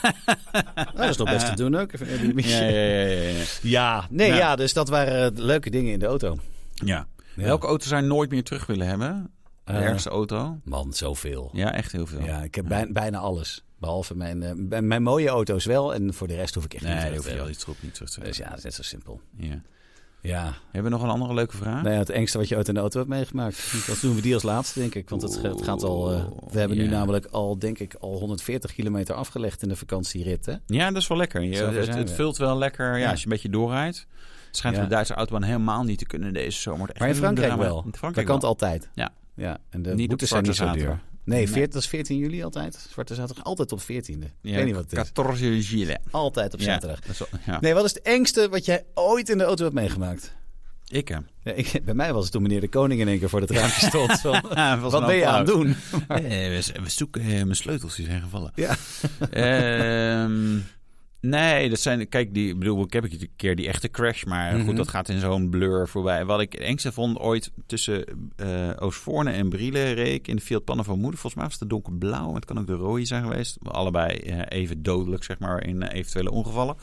Speaker 2: Oh, dat is nog best te doen ook. Even, eh, die-
Speaker 1: Ja, Nou. ja, ja, ja, ja.
Speaker 2: Ja, nee, ja.
Speaker 1: Ja.
Speaker 2: dus dat waren eh, leuke dingen in de auto.
Speaker 1: Ja. Welke auto zou je nooit meer terug willen hebben? De
Speaker 2: Eh.
Speaker 1: ergste auto?
Speaker 2: Man, zoveel. Ja,
Speaker 1: Ja, echt heel veel.
Speaker 2: ik heb bijna, bijna alles. Behalve mijn, eh, bij- mijn mooie auto's wel. En voor de rest hoef ik echt
Speaker 1: Nee,
Speaker 2: niet
Speaker 1: daar
Speaker 2: veel
Speaker 1: hoef
Speaker 2: te
Speaker 1: je al
Speaker 2: hebben.
Speaker 1: die troep niet terug te
Speaker 2: Dus
Speaker 1: hebben.
Speaker 2: ja, dat is net zo simpel.
Speaker 1: Ja.
Speaker 2: Ja.
Speaker 1: Hebben we nog een andere leuke vraag?
Speaker 2: Nou ja, het engste wat je ooit in de auto hebt meegemaakt. Dat doen we die als laatste, denk ik. Want het, het gaat al... eh, we hebben nu
Speaker 1: ja.
Speaker 2: namelijk al, denk ik, al 140 kilometer afgelegd in de vakantierit, hè?
Speaker 1: Ja, dat is wel lekker. Je,
Speaker 2: Zo ver
Speaker 1: het
Speaker 2: zijn
Speaker 1: het
Speaker 2: we.
Speaker 1: vult wel lekker ja,
Speaker 2: Ja.
Speaker 1: als je een beetje doorrijdt. Het schijnt
Speaker 2: Ja.
Speaker 1: op de Duitse autobaan helemaal niet te kunnen deze zomer. Het echt
Speaker 2: Maar in
Speaker 1: een
Speaker 2: Frankrijk
Speaker 1: drama. Eh,
Speaker 2: wel.
Speaker 1: nou, In
Speaker 2: dat
Speaker 1: Frankrijk
Speaker 2: kan het
Speaker 1: wel.
Speaker 2: altijd.
Speaker 1: Ja.
Speaker 2: ja. En de
Speaker 1: Niet op
Speaker 2: boetes zijn niet zo
Speaker 1: Zwarte
Speaker 2: duur.
Speaker 1: Zaterdag.
Speaker 2: Nee,
Speaker 1: Nee.
Speaker 2: 40, dat is 14 juli altijd. Zwarte zaterdag altijd op 14e. ik weet niet wat het is.
Speaker 1: 14 Gilles.
Speaker 2: Altijd op
Speaker 1: Ja,
Speaker 2: zaterdag.
Speaker 1: dat is wel- ja.
Speaker 2: Nee, wat is het engste wat jij ooit in de auto hebt meegemaakt?
Speaker 1: Ik eh, hem.
Speaker 2: Ja, ik, bij mij was het toen meneer de Koning in één keer voor het raampje stond. Van, wat ben je aan het doen?
Speaker 1: Eh, we, we zoeken eh, mijn sleutels, die zijn gevallen.
Speaker 2: Ja.
Speaker 1: Ehm, nee, dat zijn... Kijk, die, ik bedoel, ik heb een keer die echte crash. Maar
Speaker 2: Mhm.
Speaker 1: goed, dat gaat in zo'n blur voorbij. Wat ik het engste vond ooit tussen eh Oostvoorne en Brielen reek... in de Fiat Pannen van moeder. Volgens mij was het de donkerblauw. maar Het kan ook de rode zijn geweest. Allebei eh, even dodelijk, zeg maar, in eh, eventuele ongevallen.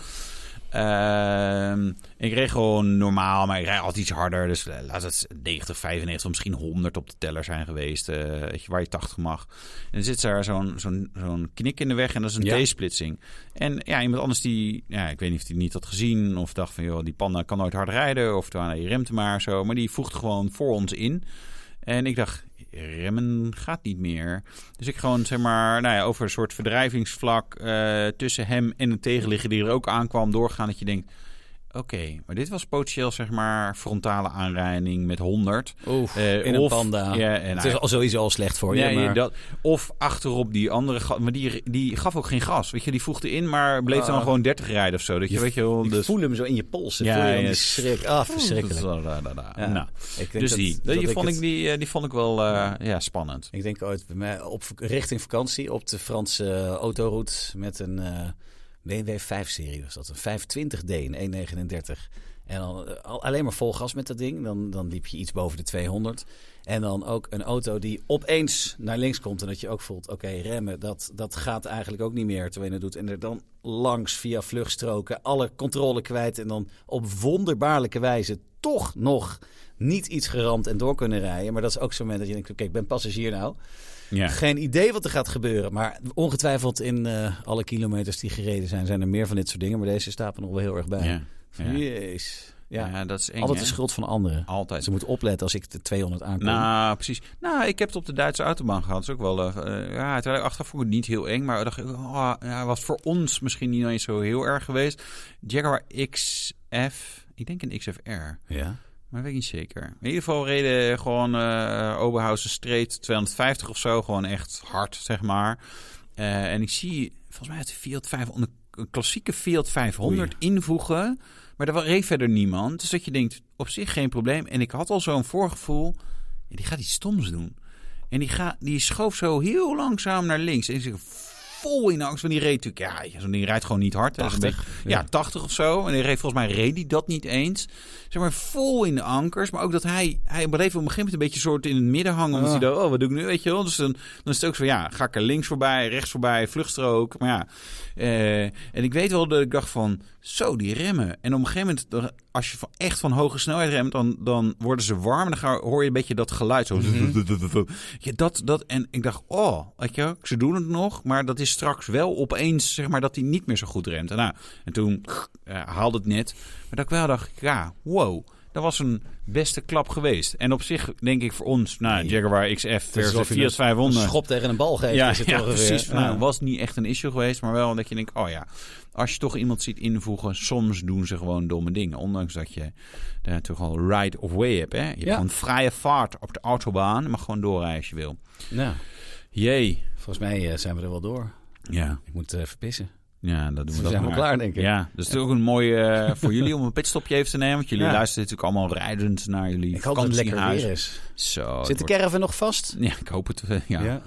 Speaker 1: Ehm, ik reed gewoon normaal, maar ik rijd altijd iets harder. Dus eh, laat het 90, 95 of misschien 100 op de teller zijn geweest. eh, weet je, waar je 80 mag. En dan zit daar zo'n zo'n zo'n knik in de weg en dat is een
Speaker 2: Ja.
Speaker 1: T-splitsing. En ja, iemand anders die, ja, ik weet niet of die niet had gezien... of dacht van, joh, die panda kan nooit hard rijden... of "Ah, nee, je remt maar zo. Maar die voegt gewoon voor ons in. En ik dacht, remmen gaat niet meer. Dus ik gewoon, zeg maar, nou ja, over een soort verdrijvingsvlak eh, tussen hem en een tegenligger die er ook aankwam, doorgaan. Dat je denkt, oké, maar dit was potentieel, zeg maar, frontale aanrijding met 100.
Speaker 2: Oef,
Speaker 1: Eh,
Speaker 2: in een
Speaker 1: of-
Speaker 2: panda.
Speaker 1: Ja, en
Speaker 2: het
Speaker 1: hij-
Speaker 2: is al sowieso al slecht voor je.
Speaker 1: Nee,
Speaker 2: maar...
Speaker 1: dat, of achterop die andere, ga- maar die, die gaf ook geen gas. Weet je, die voegde in, maar bleef dan
Speaker 2: Ah.
Speaker 1: gewoon 30 rijden of zo. Dat je, weet je wel,
Speaker 2: ik
Speaker 1: dus...
Speaker 2: voel hem zo in je polsen.
Speaker 1: Ja,
Speaker 2: voel je dan
Speaker 1: ja,
Speaker 2: die
Speaker 1: het-
Speaker 2: schrik. Ah, verschrikkelijk. Ja.
Speaker 1: Nou,
Speaker 2: Ik denk
Speaker 1: dus
Speaker 2: dat-
Speaker 1: die,
Speaker 2: dat
Speaker 1: die, vond
Speaker 2: het-
Speaker 1: ik, die, eh, die vond ik wel eh, ja, spannend.
Speaker 2: Ik denk ooit bij mij op, richting vakantie op de Franse eh, autoroute met een eh, BMW 5-serie was dat. Een 520D, een 139. En dan eh, al- alleen maar vol gas met dat ding. Dan, dan liep je iets boven de 200. En dan ook een auto die opeens naar links komt. En dat je ook voelt, oké, remmen, dat, dat gaat eigenlijk ook niet meer. Terwijl je dat doet. En er dan langs via vluchtstroken alle controle kwijt. En dan op wonderbaarlijke wijze toch nog niet iets geramd en door kunnen rijden. Maar dat is ook zo'n moment dat je denkt, oké, ik ben passagier nou.
Speaker 1: Ja.
Speaker 2: Geen idee wat er gaat gebeuren. Maar ongetwijfeld in eh, alle kilometers die gereden zijn, zijn er meer van dit soort dingen. Maar deze staat er nog wel heel erg bij.
Speaker 1: Ja.
Speaker 2: Van,
Speaker 1: Ja.
Speaker 2: Jeez. Ja.
Speaker 1: Ja, dat is eng,
Speaker 2: Altijd
Speaker 1: hè?
Speaker 2: de schuld van anderen.
Speaker 1: Altijd.
Speaker 2: Ze moeten opletten als ik de 200 aankom.
Speaker 1: Nou, precies. Nou, ik heb het op de Duitse autobahn gehad. Dat is ook wel... eh, eh, ja, terwijl ik achteraf vond ik het niet heel eng. Maar dacht ik, oh, ja, was voor ons misschien niet eens zo heel erg geweest. Jaguar XF... Ik denk een XFR.
Speaker 2: ja.
Speaker 1: Maar weet ik niet zeker. In ieder geval reden gewoon eh Oberhausen Street 250 of zo. Gewoon echt hard, zeg maar. Eh, en ik zie, volgens mij, uit de Fiat 500, een klassieke Fiat 500 invoegen. Maar er wa- reed verder niemand. Dus dat je denkt, op zich geen probleem. En ik had al zo'n voorgevoel, ja, die gaat iets stoms doen. En die, ga, die schoof zo heel langzaam naar links. En ik zeg, vol in de angst. Want die reed natuurlijk, ja, zo'n ding rijdt gewoon niet hard. hè. Dat is een
Speaker 2: 80,
Speaker 1: beetje- ja, 80 of zo. En die reed, volgens mij reed hij dat niet eens. Zeg maar, vol in de ankers. Maar ook dat hij, hij bleef op een gegeven moment een beetje soort in het midden hangen. Omdat
Speaker 2: Ah.
Speaker 1: hij dacht, oh, wat doe ik nu, weet je wel. Dus dan, dan is het ook zo, ja, ga ik er links voorbij, rechts voorbij, vluchtstrook. Maar ja, eh, en ik weet wel dat ik dacht van, zo, die remmen. En op een gegeven moment, dan- als je van, echt van hoge snelheid remt, dan, dan worden ze warm. Dan ga- hoor je een beetje dat geluid zo.
Speaker 2: Mhm.
Speaker 1: Ja, dat, dat, en ik dacht, oh, weet je, wel, ze doen het nog. Maar dat is straks wel opeens, zeg maar, dat hij niet meer zo goed remt. En, nou, en toen eh, haalde het net. Maar dat ik wel dacht, ja, wow. Dat was een beste klap geweest. En op zich denk ik voor ons, nou,
Speaker 2: Nee.
Speaker 1: Jaguar XF versus
Speaker 2: alsof je
Speaker 1: Fiat
Speaker 2: Een
Speaker 1: 500.
Speaker 2: schop tegen een bal geven.
Speaker 1: Ja,
Speaker 2: is het
Speaker 1: ja,
Speaker 2: toch weer.
Speaker 1: precies.
Speaker 2: Ja.
Speaker 1: Nou, was niet echt een issue geweest, maar wel dat je denkt, oh ja, als je toch iemand ziet invoegen, soms doen ze gewoon domme dingen. Ondanks dat je daar toch al right of way hebt. Hè? Je hebt
Speaker 2: Ja.
Speaker 1: gewoon vrije vaart op de autobaan, maar gewoon doorrijden als je wil.
Speaker 2: Nou,
Speaker 1: Jee.
Speaker 2: volgens mij eh, zijn we er wel door.
Speaker 1: Ja,
Speaker 2: Ik moet eh, even pissen.
Speaker 1: ja dat doen we
Speaker 2: We
Speaker 1: dat
Speaker 2: zijn wel
Speaker 1: maar.
Speaker 2: klaar, denk ik.
Speaker 1: Ja, dus het is ook een mooie eh, voor jullie om een pitstopje even te nemen. Want jullie
Speaker 2: Ja.
Speaker 1: luisteren natuurlijk allemaal rijdend naar jullie
Speaker 2: Ik hoop dat het lekker
Speaker 1: vakantiehuis.
Speaker 2: weer is.
Speaker 1: Zo, het
Speaker 2: Zit de
Speaker 1: wordt-
Speaker 2: caravan nog vast?
Speaker 1: Ja, ik hoop het. eh, ja.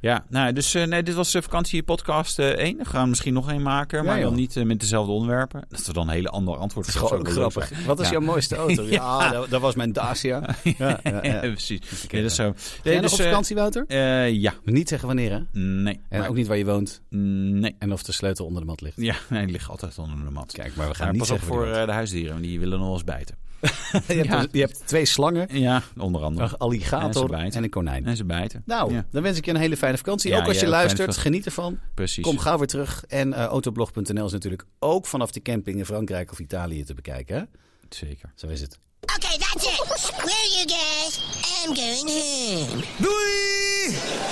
Speaker 1: Ja, nou, dus eh, nee, dit was eh, vakantiepodcast eh, één. We gaan er misschien nog één maken,
Speaker 2: Ja,
Speaker 1: maar dan
Speaker 2: joh.
Speaker 1: niet eh, met dezelfde onderwerpen. Dat we dan een hele andere antwoord
Speaker 2: Dat is gewoon ook grappig. Wat is
Speaker 1: Ja.
Speaker 2: jouw mooiste auto? Ja, dat, dat was mijn Dacia. Ja, ja, ja.
Speaker 1: Ja,
Speaker 2: Ga
Speaker 1: precies.
Speaker 2: Oké,
Speaker 1: Nee, dat is zo.
Speaker 2: jij
Speaker 1: Nee,
Speaker 2: nog
Speaker 1: dus,
Speaker 2: op
Speaker 1: eh,
Speaker 2: vakantie, Wouter?
Speaker 1: eh, ja,
Speaker 2: Niet zeggen wanneer, hè?
Speaker 1: nee.
Speaker 2: En
Speaker 1: maar-
Speaker 2: ook niet waar je woont.
Speaker 1: Nee.
Speaker 2: En of de sleutel onder de mat ligt. Dus
Speaker 1: Ja, nee, die ligt altijd onder de mat.
Speaker 2: Kijk, maar we gaan
Speaker 1: Maar
Speaker 2: niet
Speaker 1: pas op
Speaker 2: zeggen
Speaker 1: voor
Speaker 2: voor... eh,
Speaker 1: eh, de huisdieren, want die willen nog wel eens bijten.
Speaker 2: je, hebt,
Speaker 1: ja.
Speaker 2: je hebt twee slangen,
Speaker 1: Ja, onder andere.
Speaker 2: een
Speaker 1: En ze
Speaker 2: alligator en,
Speaker 1: bijt.
Speaker 2: een konijn.
Speaker 1: En ze bijten.
Speaker 2: Nou,
Speaker 1: Ja.
Speaker 2: dan wens ik je een hele fijne vakantie.
Speaker 1: Ja,
Speaker 2: ook als
Speaker 1: jij
Speaker 2: je
Speaker 1: ook fijne
Speaker 2: luistert,
Speaker 1: vakantie.
Speaker 2: geniet ervan.
Speaker 1: Precies.
Speaker 2: Nou, Kom gauw weer terug. En eh, autoblog.nl is natuurlijk ook vanaf de camping in Frankrijk of Italië te bekijken. Hè?
Speaker 1: Zeker.
Speaker 2: Zo is het.
Speaker 3: Okay, that's it. Where you guys? I'm going home.
Speaker 4: Doei!